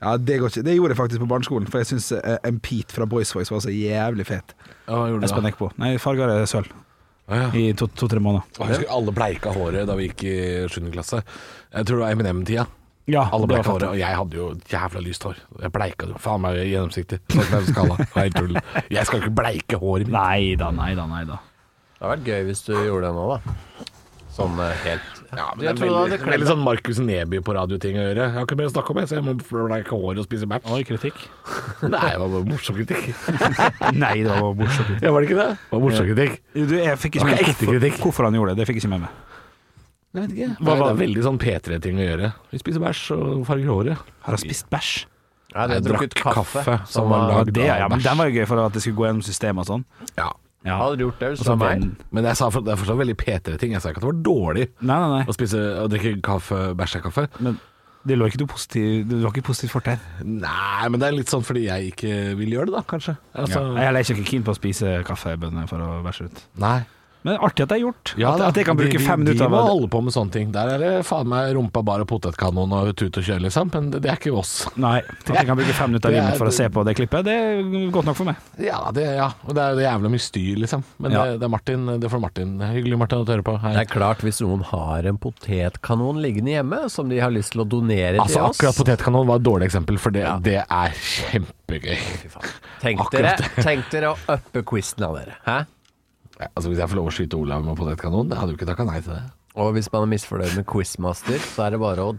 Ja, det går ikke. Det gjorde jeg faktisk på barneskolen, for jeg syns eh, en Pete fra Boys Voice var så jævlig fet.
Ja, hva gjorde du
Espen
da?
Eckbo. Nei, farga det sølv
Å, ja.
i to-tre måneder.
Og Jeg husker alle bleika håret da vi gikk i 7. klasse. Jeg tror det var Eminem-tida.
Ja,
Alle
det
bleika
var fett.
håret, og jeg hadde jo jævla lyst hår. Jeg bleika det jo faen meg gjennomsiktig. Sånn som jeg er skalla. Det var helt tull. Jeg skal ikke bleike håret mitt.
Nei da, nei da, nei da.
Det hadde vært gøy hvis du gjorde det nå, da. Sånn eh, helt
Ja, men
Jeg
det
tror
er
da
veldig,
det klem-
veldig sånn Markus Neby på radioting å gjøre. Jeg har ikke mer å snakke om, jeg, så jeg må bleike håret og spise bæsj.
Oi, kritikk.
Nei, det var bare morsom kritikk.
Nei, det var morsom kritikk.
Ja, var det ikke det? Det var morsom kritikk.
Du, jeg fikk
Det
ikke
var
med
ikke ekte
hvorfor,
kritikk.
hvorfor han gjorde det. Det fikk jeg ikke med meg.
Jeg vet ikke.
Hva
det
var-
er veldig sånn P3-ting å gjøre. Vi spiser bæsj og farger håret.
Har han spist bæsj?
Nei, det
Jeg
er drukket
drakk
kaffe.
kaffe som
som
var
var-
lagd
Det, ja, men
bæsj.
Den var jo gøy for at det skulle gå gjennom systemet og sånn.
Ja.
Ja.
Hadde du gjort det,
Og
så
så
meg.
den-
Men jeg sa for, det er fortsatt veldig P3-ting. Jeg sa ikke at det var dårlig
Nei, nei,
å
nei.
spise og drikke kaffe, bæsja kaffe.
Men det lå ikke noe positiv, det var ikke positivt fortegn.
Nei, men det er litt sånn fordi jeg ikke vil gjøre det, da, kanskje. Altså,
Ja. Jeg er ikke keen på å spise kaffebønner for å bæsje ut.
Nei.
Men artig at det er gjort. at,
da,
at jeg kan bruke
de, de,
fem
De
minutter
må
av
holde
det.
på med sånne ting. Der er det faen meg rumpa bar og potetkanon og tut og kjør, liksom. Men det, det er ikke oss.
Nei, at jeg kan bruke fem minutter av
Det er-
livet mitt for å se på det klippet, det er godt nok for meg.
Ja, det, ja. Og det er jo det jævla mye styr, liksom. Men
Ja.
det, det er Martin. Det får Martin. Hyggelig, Martin, at du hører på. Hei.
Det er klart, hvis noen har en potetkanon liggende hjemme som de har lyst til å donere
Altså,
til oss
akkurat potetkanon var et dårlig eksempel, for det,
Ja.
det er kjempegøy.
Fy faen. Tenk dere,
Akkurat
tenk dere å uppe quizen av dere. Hæ?
Ja, Altså, Hvis jeg får lov å skyte Olav med potetkanon, jeg hadde jo ikke takka nei til det.
Og hvis man er misfornøyd med Quizmaster, så er det bare å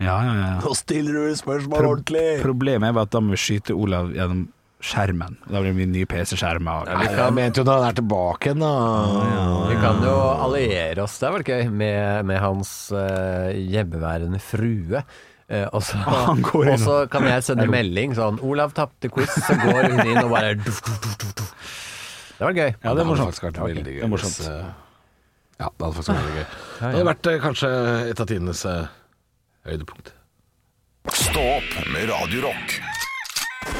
Ja, ja, ja.
Nå stiller du spørsmål
Problemet er bare at da må vi skyte Olav gjennom skjermen. Da blir det mye nye PC-skjermer.
Nei, jeg mente jo da han er tilbake igjen,
Ah,
da.
Vi kan jo alliere oss, det er vel gøy, med, med hans eh, hjemmeværende frue. Eh, og så-
han går inn
og så kan jeg sende melding sånn 'Olav tapte quiz', så går hun inn og bare Det var gøy.
Ja, det hadde faktisk vært veldig gøy.
er morsomt.
hvis, eh, Ja, det hadde faktisk vært veldig gøy. Det hadde vært eh, kanskje et av tidenes eh, høydepunkt.
Stå opp med Radio Rock.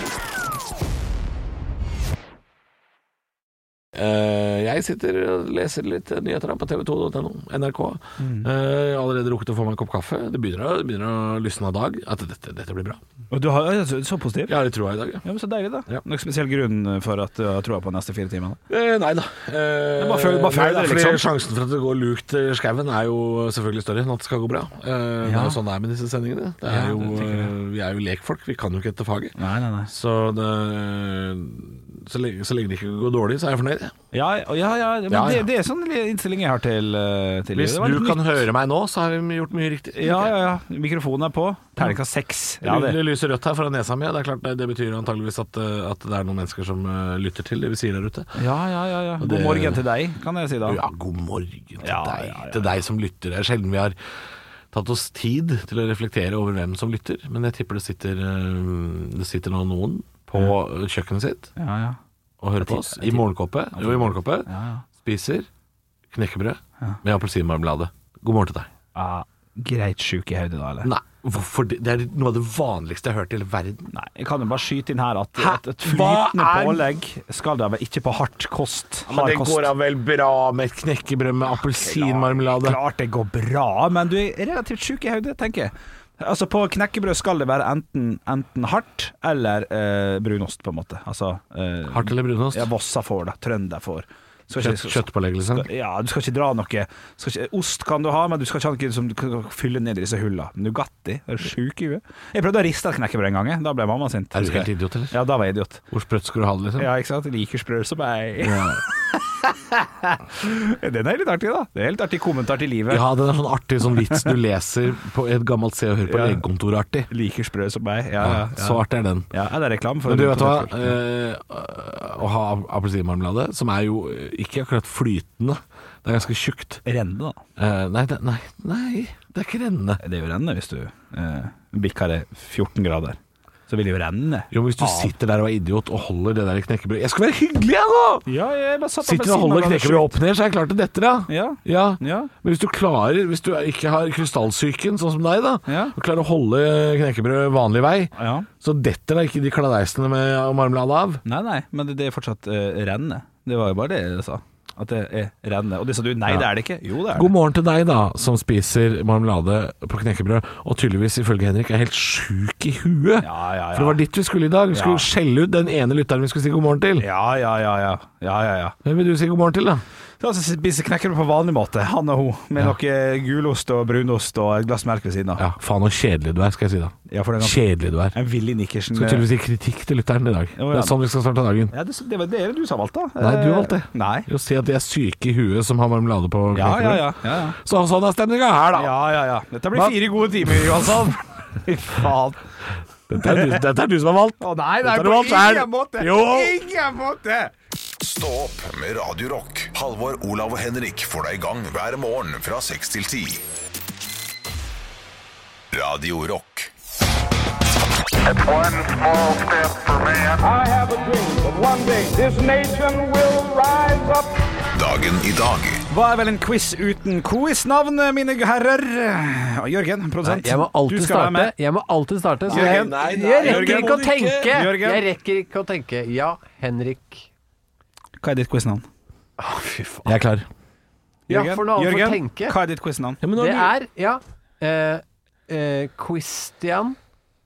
Eh, jeg sitter og leser litt eh, nyheter her på tv2.no, NRK.
Mm.
Eh, allerede rukket å få meg en kopp kaffe. Det begynner, å- det begynner å lysne av dag. At dette, dette blir bra.
Og du har, ja, så, så positiv.
Jeg har litt troa i dag, ja.
Ja, men Så deilig, da.
Ja.
Noen spesiell grunn for at du har troa på neste fire timer? Da.
Eh, nei da.
Ja,
Eh,
bare føl- bare
nei
føl
da,
det,
fordi
liksom.
Sjansen for at det går lukt i skauen er jo selvfølgelig større enn at det skal gå bra. Eh, Det er jo sånn det er med disse sendingene. Det er
Ja,
jo,
det tenker jeg.
eh, vi er jo lekfolk, vi kan jo ikke dette faget.
Nei, nei, nei.
Så, det, så, lenge, så lenge det ikke går dårlig, så er jeg fornøyd. jeg.
Ja, ja, ja, men
Ja, ja.
Det, det er sånn innstilling jeg har til, eh, til
Hvis
livet. Det var
du
litt
kan
nytt.
høre meg nå, så har vi gjort mye riktig.
Ja, ja, ja. Mikrofonen er på. Terningkast seks. Ja,
det.
det.
lyser rødt her foran nesa mi. og Det er klart det, det betyr antageligvis at, eh, at det er noen mennesker som eh, lytter til det vi sier der ute.
ja, ja, ja, ja. God
det-
morgen til deg, kan jeg si da.
Ja, god morgen til
Ja,
deg.
ja, ja.
Til deg som lytter. Det er sjelden vi har tatt oss tid til å reflektere over hvem som lytter, men jeg tipper det sitter, eh, det sitter nå noen på eh, kjøkkenet sitt
Ja, ja.
og hører på oss i morgenkåpe. Jo, i morgenkåpe. Spiser knekkebrød med appelsinmarmelade. God morgen til deg.
Ja, greit sjuk i hodet, da, eller?
Nei, hvorfor det? Det er noe av det vanligste jeg har hørt i hele verden.
Nei, jeg kan jo bare skyte inn her at,
Hæ?
at et
Hva
flytende
er-
pålegg skal da vel ikke på hardt kost.
Men
Hard
det
kost.
går da vel bra med et knekkebrød med appelsinmarmelade?
Klart det går bra, men du er relativt sjuk i hodet, tenker jeg. Altså På knekkebrød skal det være enten, enten hardt eller eh, brunost, på en måte. Altså eh,
Hardt eller brunost?
Ja, Vossa får det, trønder får. Skal
Kjøtt, kjøttpålegg, liksom?
Ja, du skal ikke dra noe skal ikke, Ost kan du ha, men du skal ikke ha noe som du kan fylle ned i disse hullene. Nugatti, er du sjuk i huet? Jeg prøvde å riste et knekkebrød en gang, jeg. da ble mamma sint.
Er du
husker
helt
jeg.
idiot, eller?
Ja, da var jeg idiot.
Hvor sprøtt skal du ha det, liksom?
Ja, ikke sant? Liker sprø som ei. Den er litt artig, da. Det er litt artig kommentar til livet.
Ja, den er sånn artig sånn vits du leser på et gammelt Se og Hør på
Ja.
legekontor-artig.
Liker sprø som meg. Ja, ja,
Ja,
ja.
så artig er den.
ja, er det reklame for
Men du vet hva,
Ja.
eh, å ha appelsinmarmelade, som er jo eh, ikke akkurat flytende, det er ganske tjukt.
Renne, da.
Eh, nei, det, nei, nei, det er ikke rennende.
Det er jo renne hvis du eh, bikker det 14 grader. Så vil det jo renne.
Jo, men hvis du sitter der og er idiot og holder det der knekkebrødet Jeg skal være hyggelig, jeg nå!
Ja, jeg bare satt
Sitter og holder knekkebrødet opp ned, så er jeg klar til dette, da.
Ja.
Ja.
Ja.
Men hvis du klarer, hvis du ikke har krystallsyken, sånn som deg, da,
Ja.
og klarer å holde knekkebrød vanlig vei,
ja.
så detter da ikke de kladeisene med marmelade av.
Nei, nei, men det- det er fortsatt eh, renne. Det var jo bare det jeg sa. At det er renne. Og det sa du nei, det er det ikke. Jo, det er det.
God morgen til deg, da, som spiser marmelade på knekkebrød, og tydeligvis, ifølge Henrik, er helt sjuk i huet.
Ja, ja, ja.
For det var dit vi skulle i dag. Vi skulle
Ja.
skjelle ut den ene lytteren vi skulle si god morgen til.
Ja, ja, ja, ja. ja, ja, ja.
Hvem vil du si god morgen til, da?
Da så altså, spiser knekker på vanlig måte, han og hun, med noe eh, gulost og brunost og et glass melk ved siden av.
Ja, faen hvor kjedelig du er, skal jeg si da.
Ja, for det er ganske-
Kjedelig du er.
En Willy Nikkersen
Skal tydeligvis gi kritikk til lytteren i dag.
Å, ja.
Det er sånn vi skal starte dagen.
ja, det, det var det du som valgte, da.
Nei, du valgte.
Eh, Nei.
Jo, si at de er syke i huet som har marmelade på
Ja, ja,
knekkebrød.
ja. ja, ja.
Så sånn er stemninga her, da.
Ja, ja, ja. Dette blir
Hva?
fire gode timer, Johansson. Fy faen.
Dette, er du, dette er du som har valgt.
Å nei, det
Dette er
er på
noe annet.
ingen måte.
Jo.
Ingen måte.
Stå opp med Radio Rock. Halvor, Olav og Henrik får deg i gang hver morgen fra 6 til 10. Radio Rock.
One small step for man. I have a dream that one day this nation will rise up.
Dagen i dag.
Hva er vel en quiz uten quiz-navn, mine herrer? Ja, Jørgen, produsent.
Jeg må alltid
du skal være
starte.
med.
Jeg må alltid starte. Så jeg,
Jørgen.
jeg rekker
Jørgen,
ikke å
må du ikke.
tenke!
Jørgen.
Jeg rekker ikke å tenke. Ja, Henrik.
Hva er ditt quiz-navn?
Jeg er klar.
Ja, for noe annet å
Jørgen,
tenke.
hva er ditt quiz-navn?
Det er, ja eh, eh, Christian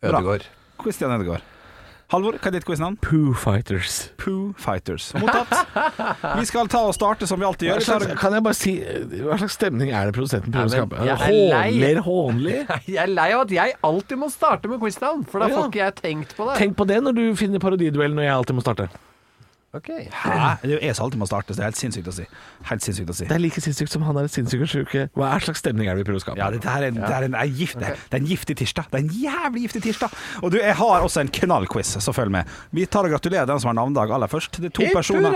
Ødegaard.
Christian Edegaard. Halvor, hva er ditt quiz-navn?
Poo Fighters.
Poo Fighters. Mottatt. Vi skal ta og starte som vi alltid
Hva
gjør.
slags, kan jeg bare si eh, Hva slags stemning er det produsenten prøver å
Nei, men
skape?
jeg er
Hån-
lei.
Mer hånlig?
Jeg er lei av at jeg alltid må starte med quiznavn, for da
Ja.
får ikke jeg tenkt på det.
Tenk på det når du finner parodiduellen og jeg alltid må starte.
Ok.
Hæ? Det er jo jeg som alltid må starte, så det er helt sinnssykt å si. Helt sinnssykt å si.
Det er like sinnssykt som han er sinnssyk og sjuk. Hva er slags stemning er det vi prøver å skape?
Ja, dette her er, det er, en, er gift, det. det er en giftig tirsdag. Det er en jævlig giftig tirsdag. Og du, jeg har også en knallquiz, så følg med. Vi tar og gratulerer den som har navnedag aller først. Det er to personer.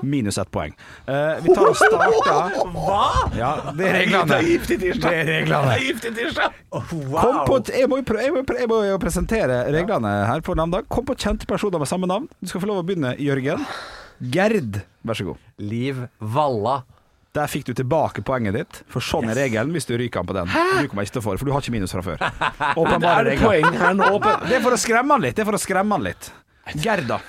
Minus ett poeng. Eh, vi tar og starter
Hva?!
Ja, det er reglene.
Det er giftig tirsdag.
Det er reglene.
Det er giftig tirsdag!
Kom på, t- jeg, må jo prøve, jeg, må jo prøve, jeg må jo presentere reglene her på navnedag. Kom på kjente personer med samme navn. Du skal få lov å begynne, Jørgen. Gerd, vær så god.
Liv Valla.
Der fikk du tilbake poenget ditt, for sånn er regelen hvis du ryker an på den. Du kommer ikke til å få det, for du har ikke minus fra før. Åpenbare
Er det
regler.
poeng her nå? på-
Det er for å skremme han litt. Det er for å skremme han litt. Gerda.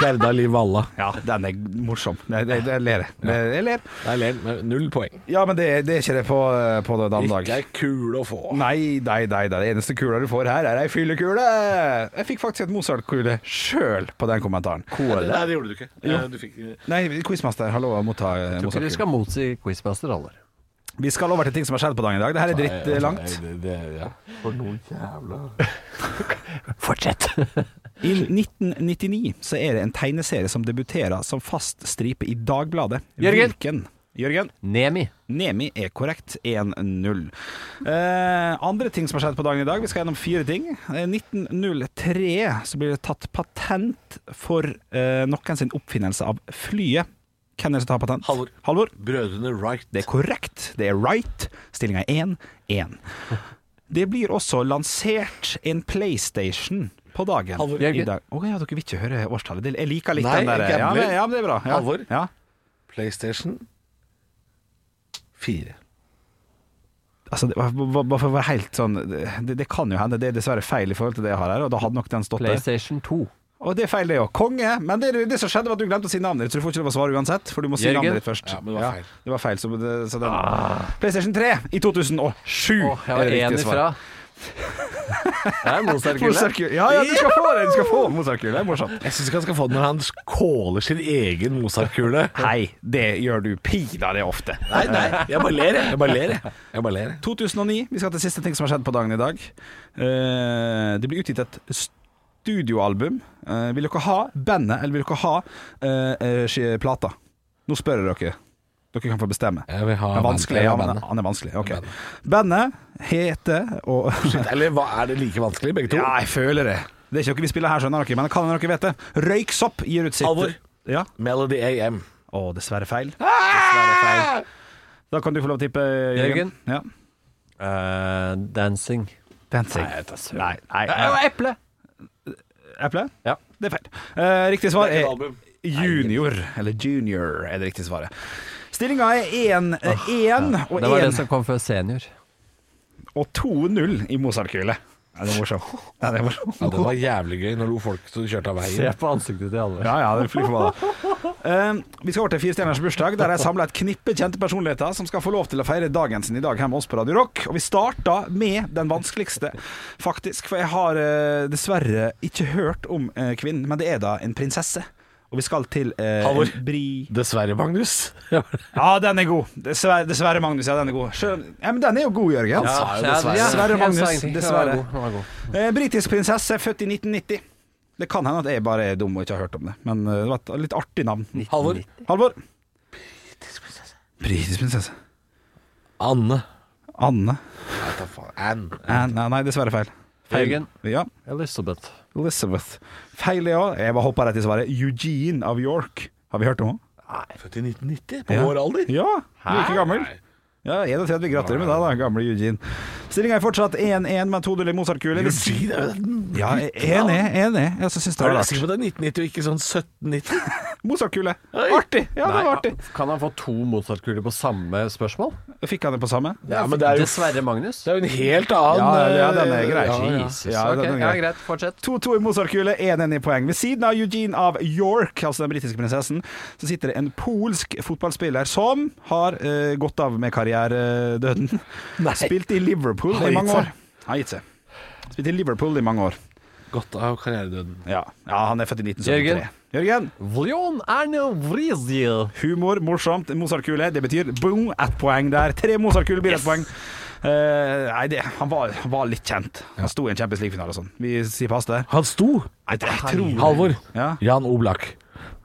Gerda Liv Valla.
Ja, den er morsom. Det, det, det ler jeg. Det, jeg ler.
Jeg ler, men null poeng.
Ja, men det, det er ikke det på, på den andre
Ikke
dag.
er kul å få.
Nei, nei, nei, nei. Det eneste kula du får her, er ei fyllekule. Jeg fikk faktisk et Mozart-kule sjøl på den kommentaren.
Nei, det gjorde du ikke. Eh, Du fikk
Nei, quizmaster, hallo, motta eh,
Dere
Mozart-kule.
skal motsi quizmaster, Aller.
Vi skal over til ting som har skjedd på dagen i dag. Det her er dritt eh, langt.
Nei, det- det- ja.
Fortsett.
I 1999 så er det en tegneserie som debuterer som fast stripe i Dagbladet.
Jørgen.
Hvilken? Jørgen.
Nemi.
Nemi er korrekt 1-0. Eh, andre ting som har skjedd på dagen i dag, vi skal gjennom fire ting. Eh, 1903 så blir det tatt patent for eh, noen sin oppfinnelse av flyet. Hvem er det som tar patent?
Halvor.
Halvor.
Brødrene Wright.
Det er korrekt. Det er right. Stillinga er 1-1. Det blir også lansert en PlayStation på dagen.
Halvor,
i dag. Å, ja, dere vil ikke høre årstallet? Det- Jeg liker litt
Nei,
den der.
jeg
Ja,
gambler.
men, ja, men det er bra. Ja.
Halvor.
Ja.
PlayStation 4.
Altså, det, bare- bare bare for å være helt sånn det, det kan jo hende. Det er dessverre feil i forhold til det jeg har her, og da hadde nok den stått der.
PlayStation 2.
Og det er feil, det òg. Konge. Men det, det som skjedde, var at du glemte å si navnet ditt, så du får ikke lov å svare uansett, for du må si
Jørgen?
navnet ditt først.
Ja, men det var feil.
det var feil så det, så den, PlayStation 3 i 2007
Åh, jeg var
det riktige
én ifra.
svaret.
Det er Mozart-gullet.
Mozartkule. Ja, ja, du skal få det! Du skal få Mozartkule. Det er morsomt.
Jeg syns ikke han skal få det når han kåler sin egen Mozart-kule.
Nei, det gjør du pinadø ofte.
Nei, nei, jeg bare ler, jeg. Jeg bare ler, jeg. jeg, bare ler, jeg.
2009. Vi skal til siste ting som har skjedd på dagen i dag. Eh, det blir utgitt et studioalbum. Eh, vil dere ha bandet, eller vil dere ha eh, eh, sk- plata? Nå spør jeg dere. Dere kan få bestemme.
Jeg vil ha
Han er vanskelig.
bandet.
Ja,
Jeg vil ha
men
bandet.
han er vanskelig. Ok. Bandet heter og
Eller hva, er det like vanskelig, begge to?
Ja, jeg føler det. Det er ikke dere vi spiller her, skjønner dere, men kan hende dere vet det. Røyksopp gir ut sitt
Alvor.
Ja.
Melody AM.
Å, dessverre feil. Dessverre feil. Da kan du få lov å tippe, Jørgen.
Jørgen?
Ja.
Eh, dancing.
Dancing. Nei, nei,
Eh,
nei.
eple!
Eple?
Ja.
Det er feil. Eh, riktig svar
Det er
er
ikke et album.
junior. Eller junior er det riktige svaret. Stillinga er 1-1 og
Det var den
1
som kom før senior.
og 2-0 i Mozart-kule. Ja, det er morsomt. Ja, det er morsomt.
Ja, det var jævlig gøy når lo folk som kjørte av veien.
på ansiktet til alle.
Ja, ja, det er fly forbanna. Eh, vi skal over til Fire stjerners bursdag, der jeg samla et knippe kjente personligheter som skal få lov til å feire dagen sin i dag her med oss på Radio Rock. Og vi starta med den vanskeligste, faktisk. For jeg har eh, dessverre ikke hørt om eh, kvinnen, men det er da en prinsesse. Og vi skal til eh,
Halvor.
en bri...
Dessverre, Magnus.
Ja, den er god. Dessverre, dessverre Magnus. Ja, den er god. Sjøl... Ja, men den er jo god, Jørgen.
jo dessverre.
Dessverre,
jeg sa
Magnus.
ingenting. Den var
Dessverre.
god, den var god.
Eh, britisk prinsesse, født i 1990. Det kan hende at jeg bare er dum og ikke har hørt om det, men eh, det var et litt artig navn.
Halvor.
Halvor. Britisk prinsesse.
Anne.
Anne.
Anne.
Anne- Nei, dessverre feil. Feil.
Jørgen.
Ja.
Elizabeth.
Elizabeth. Feil, ja. Jeg bare hoppa rett i svaret. Eugene av York. Har vi hørt om henne?
Født i 1990, på
Ja.
vår alder.
Ja, like gammel. Ja, 31. Gratulerer med deg, da, gamle Eugene. Stillinga er fortsatt 1-1 med to duller Mozart-kuler.
Eugene er jo den
Ja, enig, enig. Jeg syns det
Er
var
du
rart.
sikker på at det er 1990 og ikke sånn 1790?
Mozart-kule.
Oi.
Artig! Ja, det var artig.
Kan han få to Mozart-kuler på samme spørsmål?
Fikk han det på samme?
Ja, men det er jo,
Dessverre, Magnus.
det er jo en helt annen eh,
Ja, ja, den er grei.
Ja, ja.
Jesus.
Ja,
ok,
den er
ja,
grei.
greit. Fortsett.
2-2 i Mozart-kule, 1-1 i poeng. Ved siden av Eugene av York, altså den britiske prinsessen, så sitter det en polsk fotballspiller som har eh, gått av med karrieredøden. Spilt i Liverpool
Har
i
gitt
mange
seg.
år. Har gitt seg. Spilt i Liverpool i mange år.
Godt av karrieredøden.
Ja, ja han er født i 1973. Jørgen.
Vlion Erne Vriziel.
Humor, morsomt, Mozart-kule. Det betyr boom, ett poeng der. Tre Mozart-kuler blir ett poeng. Eh, nei, det, han, var, han var litt kjent. Han sto i en Champions League-finale og sånn. Vi sier pass der.
Han sto!
Nei, det jeg tror
Halvor.
Ja.
Jan Oblak.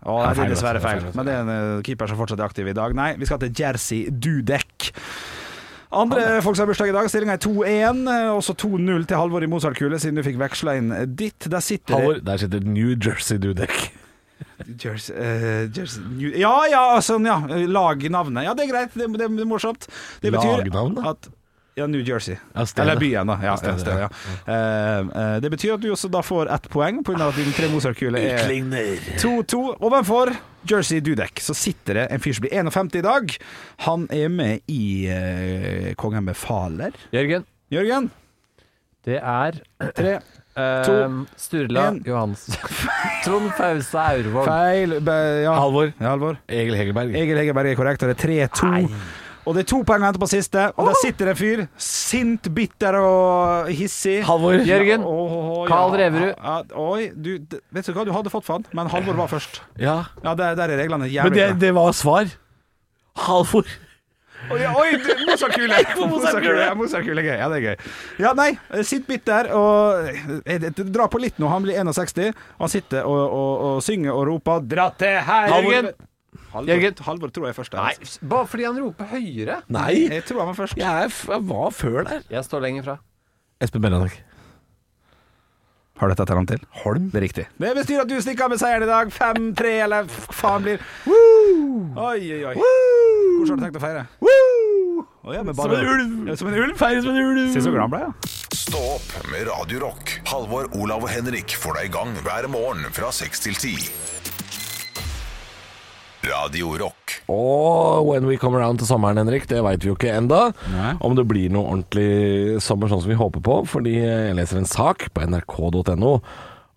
Å, nei, det
feil,
er dessverre
det er feil,
feil.
det er feil.
Men det er en eh, keeper som fortsatt er aktiv i dag. Nei, vi skal til Jersey Dudek. Andre folk som har bursdag i dag. Stillinga er 2-1. eh, Også 2-0 til Halvor i Mozart-kule, siden du fikk veksla inn ditt. Der sitter
Halvor, der sitter New Jersey Dudek.
det Jersey, eh, Jersey New Ja ja, sånn ja. Lagnavnet. Ja, det er greit. Det, det er morsomt. Det betyr
Lagnavnet?
at ja, New Jersey.
Ja, stedet.
Eller byen, da. Ja,
stedet,
stedet, ja. Eh, eh, det betyr at du også da får ett poeng, pga. at dine tre Mozart-kuler er 2-2. Ovenfor Jersey Dudek så sitter det en fyr som blir 51 i dag. Han er med i eh, Kongen befaler.
Jørgen,
Jørgen?
det er
Tre.
ehm, Sturla
en.
Johansen. Trond Fausa Aurvåg.
Feil. Be, ja.
Halvor.
Ja, Halvor.
Egil Hegerberg.
Egil Hegerberg er korrekt, og det er 3-2. Og det er to poeng å hente på siste, og der sitter det en fyr. Sint, bitter og hissig.
Halvor.
Jørgen.
Åh, åh, åh,
Karl
ja.
Reverud.
Ja, oi, du, d- vet du hva, du hadde fått for han, men Halvor var først.
Ja.
Ja, der, der er reglene
Men
jævlig
det,
bra.
det var svar. Halvor.
Oi, Oi, du- Mozartkule! Mozartkule, ja, Mozartkule er gøy. Ja, det er gøy. Ja, nei, sitt bitter og eh, det- det Drar på litt nå, han blir 61. Han sitter og, og, og synger og roper 'dra til her'.
Jørgen.
Halvor,
Jørgen.
Halvor tror jeg er først. der, altså.
Bare fordi han roper høyere.
Nei,
Jeg tror han var først.
jeg, er f jeg var før der.
Jeg står lenger fra.
Espen Bellanek.
Har du et etternavn til? Holm. Det er riktig. Det betyr at du stikker av med seieren i dag. 5-3, eller f- faen blir Oi, oi, oi. Hvordan har du tenkt å feire? Å ja, med bare-
Som en ulv.
Ja, Som en ulv.
Feires med en ulv.
Se så glad han ble, ja.
Stå opp med Radio Rock. Halvor, Olav og Henrik får deg i gang hver morgen fra 6 til 10. Radio Rock.
Og when we come around til sommeren, Henrik, det veit vi jo ikke enda
Nei.
Om det blir noe ordentlig sommer sånn som vi håper på. Fordi jeg leser en sak på nrk.no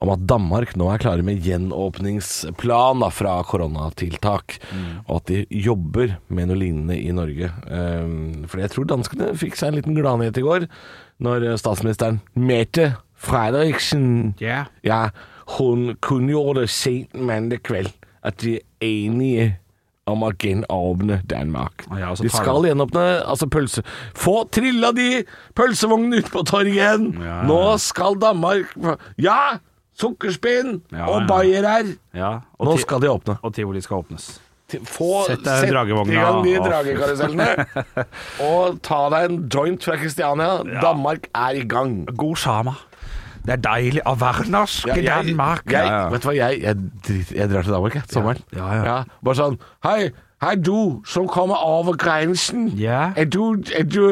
om at Danmark nå er klare med gjenåpningsplan da, fra koronatiltak.
Mm.
Og at de jobber med noe lignende i Norge. Um, for jeg tror danskene fikk seg en liten gladnyhet i går når eh, statsministeren Mette Fredriksen
Ja.
ja, hun kunngjorde sent mandag kveld at de er enige om å gjenåpne Danmark.
Ja, og så
de
tar
skal gjenåpne altså pølse... Få trilla de pølsevognene ut på torget igjen!
Ja.
Nå skal Danmark Ja! Sukkerspinn
Ja,
og
ja.
bayerer!
ja.
Nå skal de åpne.
og tivoli skal åpnes.
Til- Få,
Sett deg i dragevogna,
i gang de
og-
dragekarusellene, og ta deg en joint fra Kristiania. Danmark er i gang.
God sama. Det er deilig å være norsk i
jeg,
Danmark.
jeg, Vet du hva, jeg, jeg, driter- jeg drar til Danmark jeg, sommeren.
Ja, ja.
bare sånn Hei, hei du som kommer over grensen.
Ja.
Er, du, er, du,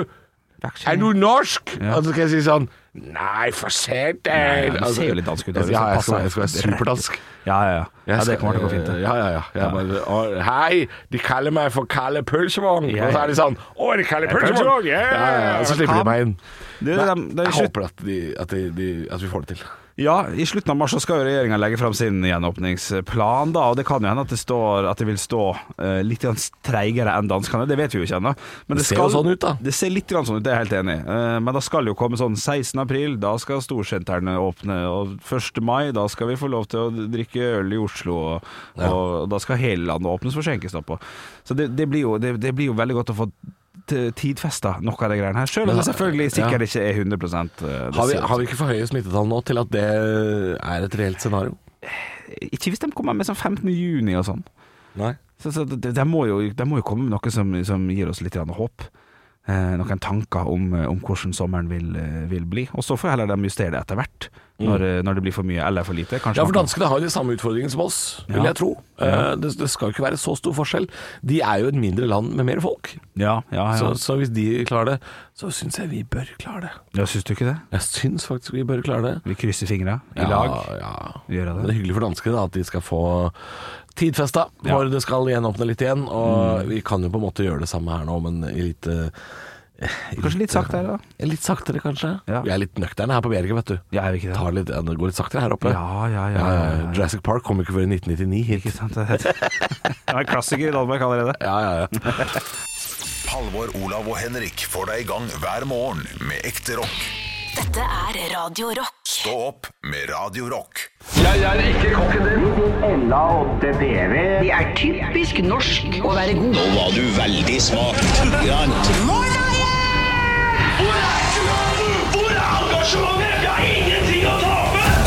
er du norsk?
Ja.
Og så skal jeg si sånn Nei, for satan.
ja, men det ser jo litt dansk ut, da, hvis
Ja,
det
jeg skal,
passer.
jeg skal være superdansk.
Ja, ja, ja. ja det kommer til å gå fint. det.
Ja, ja, ja. Jeg bare, «Å, hei, de kaller meg for Kalle Pølsevogn.
Ja,
Og så
ja.
er de sånn Å, er de Kalle Pølsevogn?
Pølsevogn,
Ja,
ja,
ja, ja. Og så slipper de meg inn.
Du,
Nei,
det er- det er
jeg
slutt-
håper at, de, at, de, de, at vi får det til.
Ja, I slutten av mars så skal jo regjeringa legge fram sin gjenåpningsplan. da, og Det kan jo hende at det, står, at det vil stå eh, litt grann treigere enn danskene. Det vet vi jo ikke ennå. Men
Det ser jo sånn ut, da.
Det ser litt grann sånn ut, det er jeg helt enig i. Eh, men da skal jo komme sånn 16. april, da skal storsentrene åpne. Og 1. mai, da skal vi få lov til å drikke øl i Oslo. Og, og da skal hele landet åpnes for skjenkestopp. og- Så det, det, blir jo, det, det blir jo veldig godt å få t- tidfesta noe av de greiene her. Selv om
Men-
det selvfølgelig
ja.
sikkert ikke er 100 eh, det
Har vi,
ser ut
har vi ikke for høye smittetall nå til at det er et reelt scenario?
Ikke hvis de kommer med sånn 15. juni og sånn.
Nei.
Så, så det, det må jo, det må jo komme med noe som, som gir oss litt grann håp. Eh, noen tanker om, eh, om hvordan sommeren vil, eh, vil bli. Og så får heller de justere det etter hvert, når, eh, når det blir for mye eller for lite. Kanskje
Ja, for
man kan-
danskene har jo de samme utfordringene som oss, vil
Ja.
jeg tro. Eh, Det, det skal jo ikke være så stor forskjell. De er jo et mindre land med mer folk.
ja, ja, ja.
Så, så hvis de klarer det, så syns jeg vi bør klare det.
ja, syns du ikke det?
Jeg syns faktisk vi bør klare det.
Vi krysser fingra i
Ja,
lag.
Ja.
Vi gjør
Det
det.
er hyggelig for danskene da, at de skal få tidfesta
Ja. Mm.
når det skal gjenåpne litt igjen. Og vi kan jo på en måte gjøre det samme her nå, men i litt eh, i
Kanskje litt saktere, da?
Litt saktere, kanskje.
Ja.
Vi er litt nøkterne her på Bjerke, vet du.
Ja, er vi ikke det?
Tar litt, ja, det går litt saktere her oppe.
Ja, ja, ja. ja, ja, ja.
Jurassic Park kom ikke før i 1999
Ikke
hit.
sant? Det er en klassiker i Danmark allerede.
Ja, ja, ja.
Halvor, Olav og Henrik får deg i gang hver morgen med ekte rock.
Dette er Radio Rock.
Stå opp med Radio Rock.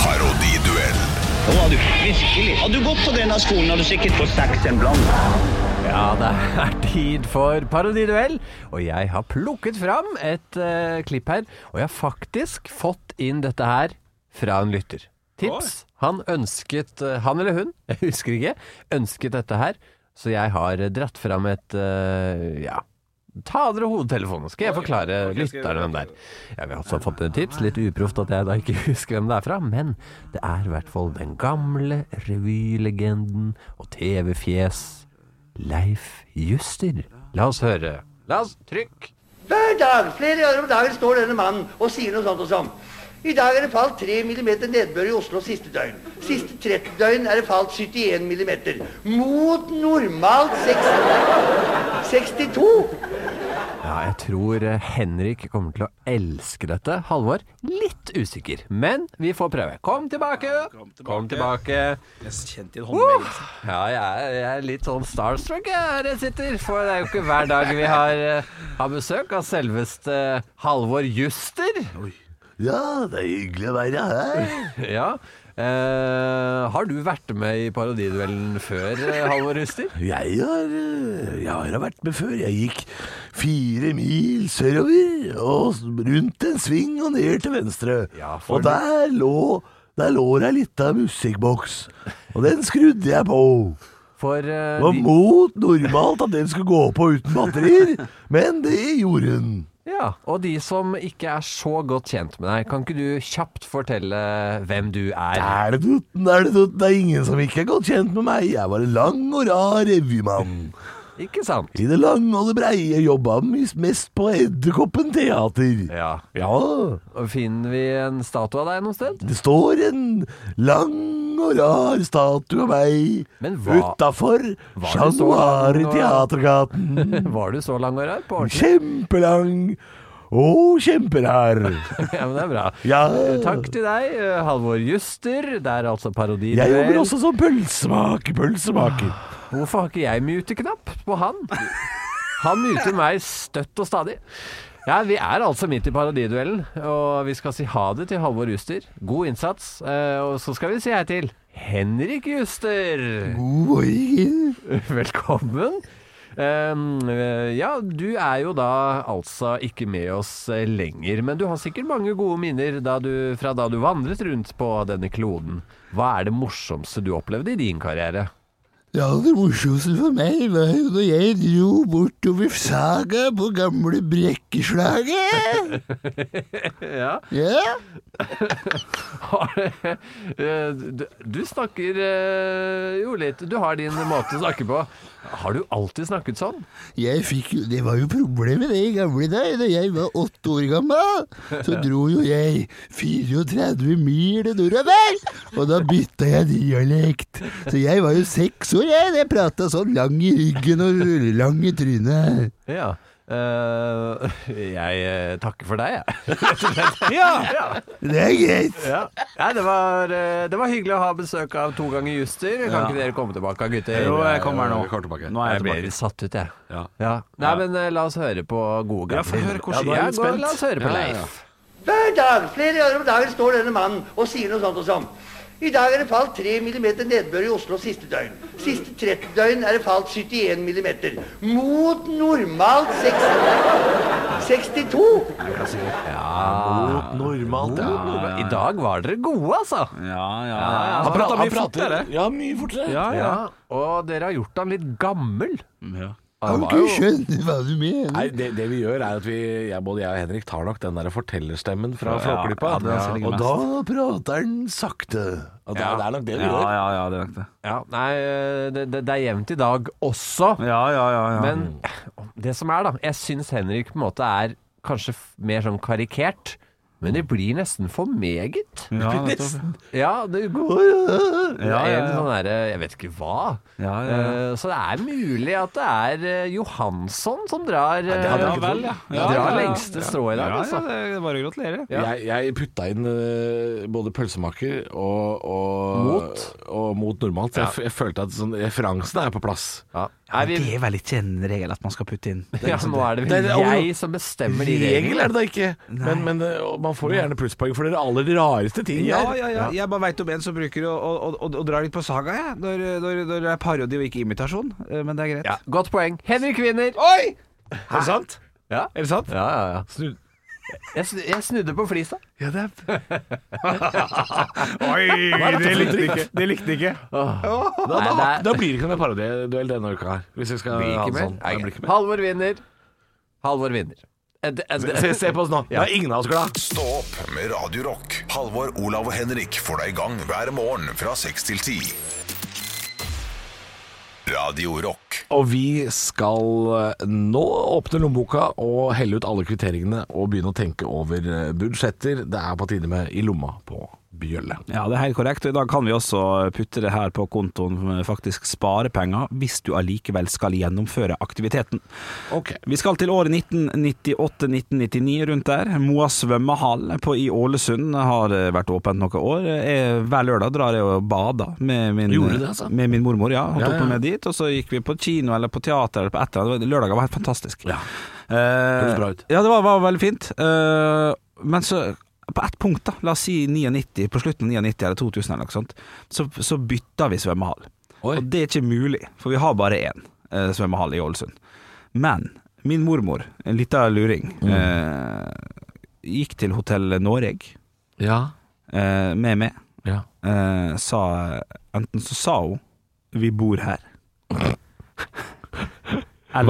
Parodiduell.
Ja, det er tid for parodiduell, og jeg har plukket fram et eh, klipp her. Og jeg har faktisk fått inn dette her fra en lytter. Tips. Han ønsket eh, Han eller hun, jeg husker ikke, ønsket dette her. Så jeg har eh, dratt fram et eh, Ja. Ta av dere hodetelefonene, skal jeg forklare lytterne hvem det er. Jeg har også fått et tips, litt uproft at jeg da ikke husker hvem det er fra, men det er i hvert fall den gamle revylegenden og TV-fjes Leif Juster. La oss høre. La oss trykk.
Hver dag, flere ganger om dagen, står denne mannen og sier noe sånt og sånn. I dag er det falt 3 mm nedbør i Oslo siste døgn. Siste 30 døgn er det falt 71 mm. Mot normalt 60, 62.
Ja, jeg tror eh, Henrik kommer til å elske dette. Halvor, litt usikker, men vi får prøve. Kom tilbake! Kom tilbake. Uh, ja, jeg er, jeg er litt sånn starstruck jeg, her jeg sitter, for det er jo ikke hver dag vi har, eh, har besøk av selveste Halvor Juster.
ja, det er hyggelig å være her.
Ja. Eh, har du vært med i parodiduellen før, eh, Halvor Juster?
Jeg har, eh, jeg har vært med før. Jeg gikk fire mil sørover, og s- rundt en sving og ned til venstre.
Ja, for
og
det-
der lå, der lå det ei lita musikkboks, og den skrudde jeg på.
For eh,
Det var
de-
mot normalt at den skulle gå på uten batterier, men det gjorde den.
Ja, og de som ikke er så godt kjent med deg, kan ikke du kjapt fortelle hvem du er?
Er det dutten, er det dutten, det er ingen som ikke er godt kjent med meg. Jeg var en lang og rar revymann.
Ikke sant?
I det lange og det breie Jeg jobba mys- mest på Edderkoppen teater.
Ja.
ja.
Og finner vi en statue av deg noe sted?
Det står en lang og rar statue av
Men
meg
hva-
utafor
Var det
Chat
så
Noir
lang
i
og-
Teatergaten.
Var du så lang og rar på ordentlig?
Kjempelang og kjemperar.
Ja, men det er bra.
Ja.
Eh, Takk til deg, eh, Halvor Juster. Det er altså parodi.
Jeg jobber også som pølsemaker, pølsemaker.
Hvorfor har ikke jeg muteknapp på han? Han muter meg støtt og stadig. Ja, Vi er altså midt i parodiduellen, og vi skal si ha det til Halvor Juster. God innsats. eh, Og så skal vi si hei til Henrik Juster. Velkommen. Ehm, eh, ja, du er jo da altså ikke med oss eh, lenger, men du har sikkert mange gode minner da du, fra da du vandret rundt på denne kloden. Hva er det morsomste du opplevde i din karriere?
Det aller morsomste for meg var jo når jeg dro bortover Saga på gamle Brekkeslaget.
ja.
Ja.
Har du, eh, du, du snakker eh, jo litt Du har din måte å snakke på. Har du alltid snakket sånn?
Jeg fikk jo, det var jo problemet det i gamle dager. Da jeg var åtte år gammel, så dro jo jeg 34 mil nordover. Og da bytta jeg dialekt. Så jeg var jo seks år, jeg. da Jeg prata sånn lang i ryggen og lang i trynet.
Ja. Eh, jeg eh, takker for deg, jeg.
Det er greit.
Ja. Nei, det, var, eh, det var hyggelig å ha besøk av to ganger Juster. Kan
Ja.
ikke dere komme tilbake, gutter?
Jo, jeg kommer nå.
Jeg kommer tilbake.
Nå er jeg
Jeg
bedre.
ble satt ut, jeg.
Ja.
Ja. Nei, men eh, la oss høre på gode
Ja, få
gamle-
høre hvordan-
da
jeg er
går-
litt spent.
La oss høre på
Ja, ja, ja.
Leif.
Hver dag, flere ganger om dagen, står denne mannen og sier noe sånt og sånn. I dag er det falt 3 mm nedbør i Oslo siste døgn. Siste 30 døgn er det falt 71 mm. Mot normalt 60, 62.
Ah.
Ja.
Normalt,
Ja, I dag var dere gode, altså.
Ja, ja.
ja.
Han prata mye
prater-
fortere.
Ja, mye fortere.
Ja, ja.
Ja, og dere har gjort han litt gammel.
ja.
Han
Kan
var
ikke
jo-
skjønne hva du mener.
Nei, det, det vi gjør er at vi, jeg, både jeg og Henrik tar nok den der fortellerstemmen fra
Ja,
Flåklypa.
ja, det er han som ligger
og
mest.
da prater han sakte. Og det, det er nok det vi
Ja,
gjør.
ja, ja, det er nok det.
Ja, nei, det, det, det er jevnt i dag også.
Ja, ja, ja. ja.
Men det som er, da Jeg syns Henrik på en måte er kanskje f- mer sånn karikert. Men det blir nesten for meget.
ja, nettopp.
Ja, det går Det
Ja,
er
ja,
en
ja.
sånn derre Jeg vet ikke hva.
Ja, ja, ja.
Eh, Så det er mulig at det er eh, Johansson som drar eh,
hadde
ja vel, ja. Ja,
drar
ja, ja.
lengste strå i dag,
Ja, ja,
altså.
det er bare å gratulere.
Ja.
Jeg, jeg putta inn eh, både pølsemaker og, og
Mot?
og mot normalt. Så jeg, f jeg følte at sånn, referansen er på plass.
Ja. Er vi,
er vel ikke en regel at man skal putte inn liksom
ja, nå er det
Det er
vel
det-
jeg som bestemmer de
Regel
reglene.
er det da ikke, men, men eh, og man får jo gjerne plusspoeng for de aller rareste ting.
Ja,
der.
ja, ja. Jeg bare veit om en som bruker å, å, å, å dra litt på saga, jeg. Når, når, når det er parodi og ikke imitasjon. Eh, Men det er greit.
Ja, godt poeng. Henrik vinner.
Oi! Er det sant?
Ja.
Er det sant?
Ja, ja, ja.
Snu-
Jeg, snu, jeg snudde på flisa.
Ja, det er Oi, det likte ikke. Det likte ikke.
Da,
Nei,
da,
det er-
da blir det ikke noe parodiduell denne uka her. Hvis vi skal ha
Ikke
en
mer.
sånn.
Nei,
Det blir
greit.
ikke mer.
Halvor vinner. Halvor vinner. Eh, det- eh, det-
Se, se på oss nå. Ja. er ingen av oss glad.
Stå opp med Radio Rock. Halvor, Olav og Henrik får deg i gang hver morgen fra 6 til 10. Radio Rock.
Og vi skal eh, nå åpne lommeboka og helle ut alle kvitteringene og begynne å tenke over eh, budsjetter. Det er på tide med I lomma på bjølle.
Ja, det er helt korrekt. Og i dag kan vi også putte det her på kontoen med faktisk sparepenger, hvis du allikevel skal gjennomføre aktiviteten.
Ok.
Vi skal til året 1998-1999 rundt der. Moa svømmehall på, i Ålesund har eh, vært åpent noen år. Jeg, hver lørdag drar jeg og bader med min, eh,
Gjorde du det, altså?
med min mormor. ja. Hun
Ja,
tok
ja.
meg med dit, og så gikk vi på kino eller på teater eller på et eller annet. Lørdagen var helt fantastisk.
Ja.
Eh,
Høres bra ut.
Ja, det var, var veldig fint. Eh, men så på ett punkt, da, la oss si 99, på slutten av 99 eller 2000, eller noe sånt, så, så bytta vi svømmehall.
Oi.
Og det er ikke mulig, for vi har bare én eh, svømmehall i Ålesund. Men min mormor, en lita luring,
Mm.
eh, gikk til Hotell Noreg
Ja.
eh, med meg.
Ja.
Eh, sa, enten så sa hun 'vi bor her'. Eller,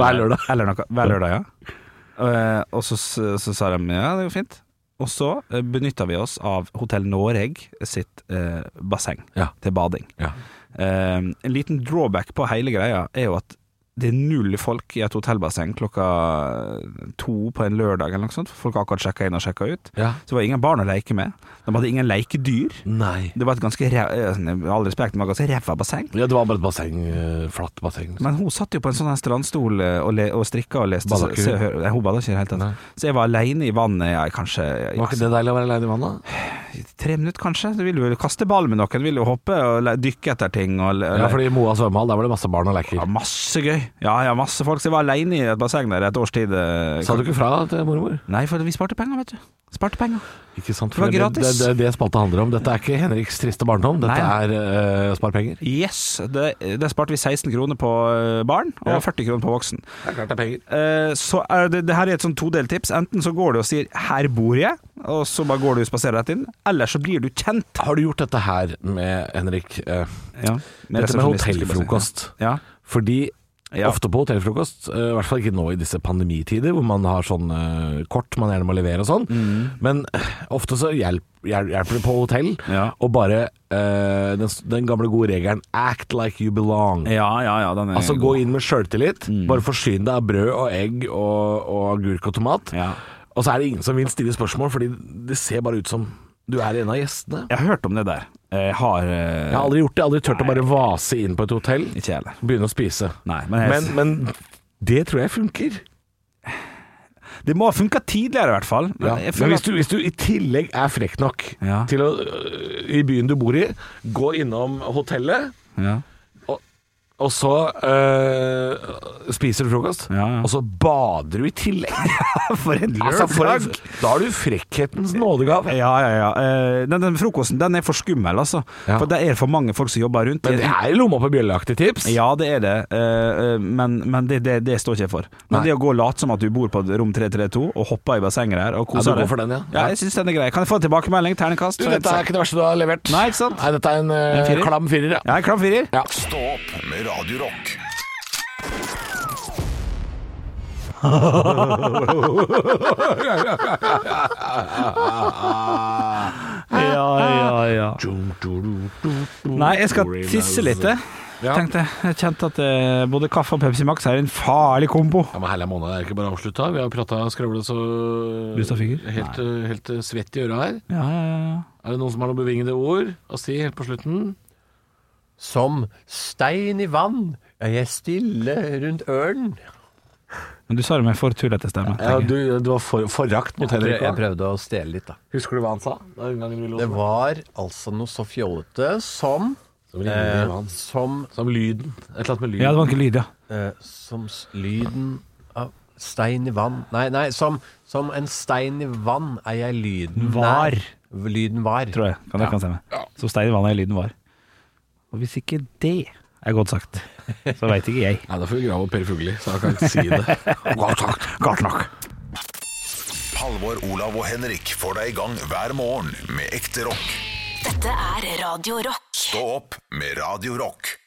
Hver lørdag.
Eller noe, hver lørdag, ja. Eh, og så, så, så sa de ja, det går fint. Og så eh, benytta vi oss av Hotell Noreg sitt eh, basseng
Ja.
til bading.
Ja.
Eh, en liten drawback på hele greia er jo at det er null folk i et hotellbasseng klokka to på en lørdag eller noe sånt. Folk har akkurat sjekka inn og sjekka ut.
Ja.
Så det var ingen barn å leke med. De hadde ingen lekedyr.
Nei.
Det var et ganske ræv, eh, sånn, med all respekt, men det var ganske ræva basseng.
Ja, det var bare et basseng. eh, Flatt basseng.
Men hun satt jo på en sånn her strandstol eh, og, le, og strikka og leste.
Bada ikke
så,
hun?
så, nei, hun bada ikke i det hele
Nei.
tatt. Så jeg var aleine i vannet ja, i kanskje ja,
Var ikke det deilig å være aleine i vannet?
tre minutter, kanskje. Du vil jo kaste ball med noen, du vil jo hoppe og le, dykke etter ting. Og, le-
Ja, fordi i Moa svømmehall der var det masse barn og leker.
ja, masse gøy. Ja, ja, masse folk. Så jeg var aleine i et basseng der et års tid. eh,
Sa du ikke fra til mormor?
Nei, for vi sparte penger, vet du. Sparte penger.
Ikke sant?
Det var
For det, det,
gratis.
det, det spalta handler om. Dette er ikke Henriks triste barndom, dette
Nei.
er eh, sparepenger.
Yes, det, det sparte vi 16 kroner på eh, barn og 40 kroner på voksen.
Det er klart det er penger.
Eh, så er det, det her er et sånn todelt tips. Enten så går du og sier 'her bor jeg', og så bare går du og spaserer rett inn. Eller så blir du kjent.
Har du gjort dette her med Henrik? eh,
Ja, med
dette med
resepsjonist, skulle jeg bare si.
hotellfrokost.
Ja.
Fordi
Ja.
ofte på hotellfrokost, eh, i hvert fall ikke nå i disse pandemitider, hvor man har sånn eh, kort man gjerne må levere og sånn, men eh, ofte så hjelp, hjel- hjelper det på hotell
Ja.
og bare eh, den, s- den gamle gode regelen 'act like you belong'.
Ja, ja, ja. Den er
Altså
god.
gå inn med sjøltillit. Bare forsyn deg av brød og egg og, og agurk og tomat.
Ja.
Og så er det ingen som vil stille spørsmål, fordi det ser bare ut som du er en av gjestene.
Jeg har hørt om det der. Jeg har eh,
Jeg har aldri gjort det. Jeg har aldri turt å bare vase inn på et hotell,
Ikke jeg heller.
begynne å spise.
Nei, men, jeg,
Men, men det tror jeg funker.
det må ha funka tidligere, i hvert fall. Men
Ja.
jeg
Men
føler
hvis
at-
du, hvis du i tillegg er frekk nok
Ja.
til å øh, I byen du bor i, gå innom hotellet,
ja.
og så øh, spiser du frokost.
Ja, ja.
Og så bader du i tillegg.
For en
Altså, for en,
lørdag!
da har du frekkhetens nådegave.
Ja, ja, ja. Eh, Den, den frokosten den er for skummel, altså.
Ja.
For det er for mange folk som jobber rundt.
Men det er lomma på bjølleaktig tips.
Ja, det er det, eh, eh, men, men det, det, det står ikke jeg for. Men
Nei.
det å gå og late som at du bor på rom 332 og hoppe i bassenget der og
Ja,
kose
du går for den, ja.
ja, jeg syns den er grei. Kan jeg få en tilbakemelding? Ternekast?
Du, dette er ikke det verste du har levert.
Nei, ikke sant?
Nei, dette er en, øh,
En firer?
klam firer. Ja.
Ja, en klam firer.
Ja.
Stå opp med Radio Rock.
Ja, ja, ja. Nei, jeg skal tisse litt, jeg.
Ja.
Tenkte jeg. Jeg kjente at eh, både kaffe og Pepsi Max er en farlig kombo.
Ja, men herlig måned, det er ikke bare avslutta. Vi har prata og skravla så
Lyst av finger?
helt, øh, helt øh, svett i øra her.
Ja, ja, ja.
Er det noen som har noen bevingede ord å si helt på slutten?
Som stein i vann er jeg stille rundt ørnen.
Men du sa det med for tullete stemme. tenker jeg.
var forakt mot
Jeg prøvde å stjele litt, da.
Husker du hva han sa?
Det var altså noe så fjollete som
Som,
eh,
eh,
som,
som lyden. Et eller annet med lyden.
Ja, det var ikke lyd, ja.
eh, som s- lyden av stein i vann Nei, nei, som, som en stein i vann er jeg lyden
Var.
nær. Lyden var.
Tror jeg. Kan det kan stemme. Så stein i vannet i lyden var. Og hvis ikke det er godt sagt, så veit ikke jeg.
Nei, da får vi grave opp Per Fugli, så han kan ikke si det. Godt sagt.
Godt nok.
Halvor, Olav og Henrik får deg i gang hver morgen med ekte rock.
Dette er Radio Rock.
Stå opp med Radio Rock.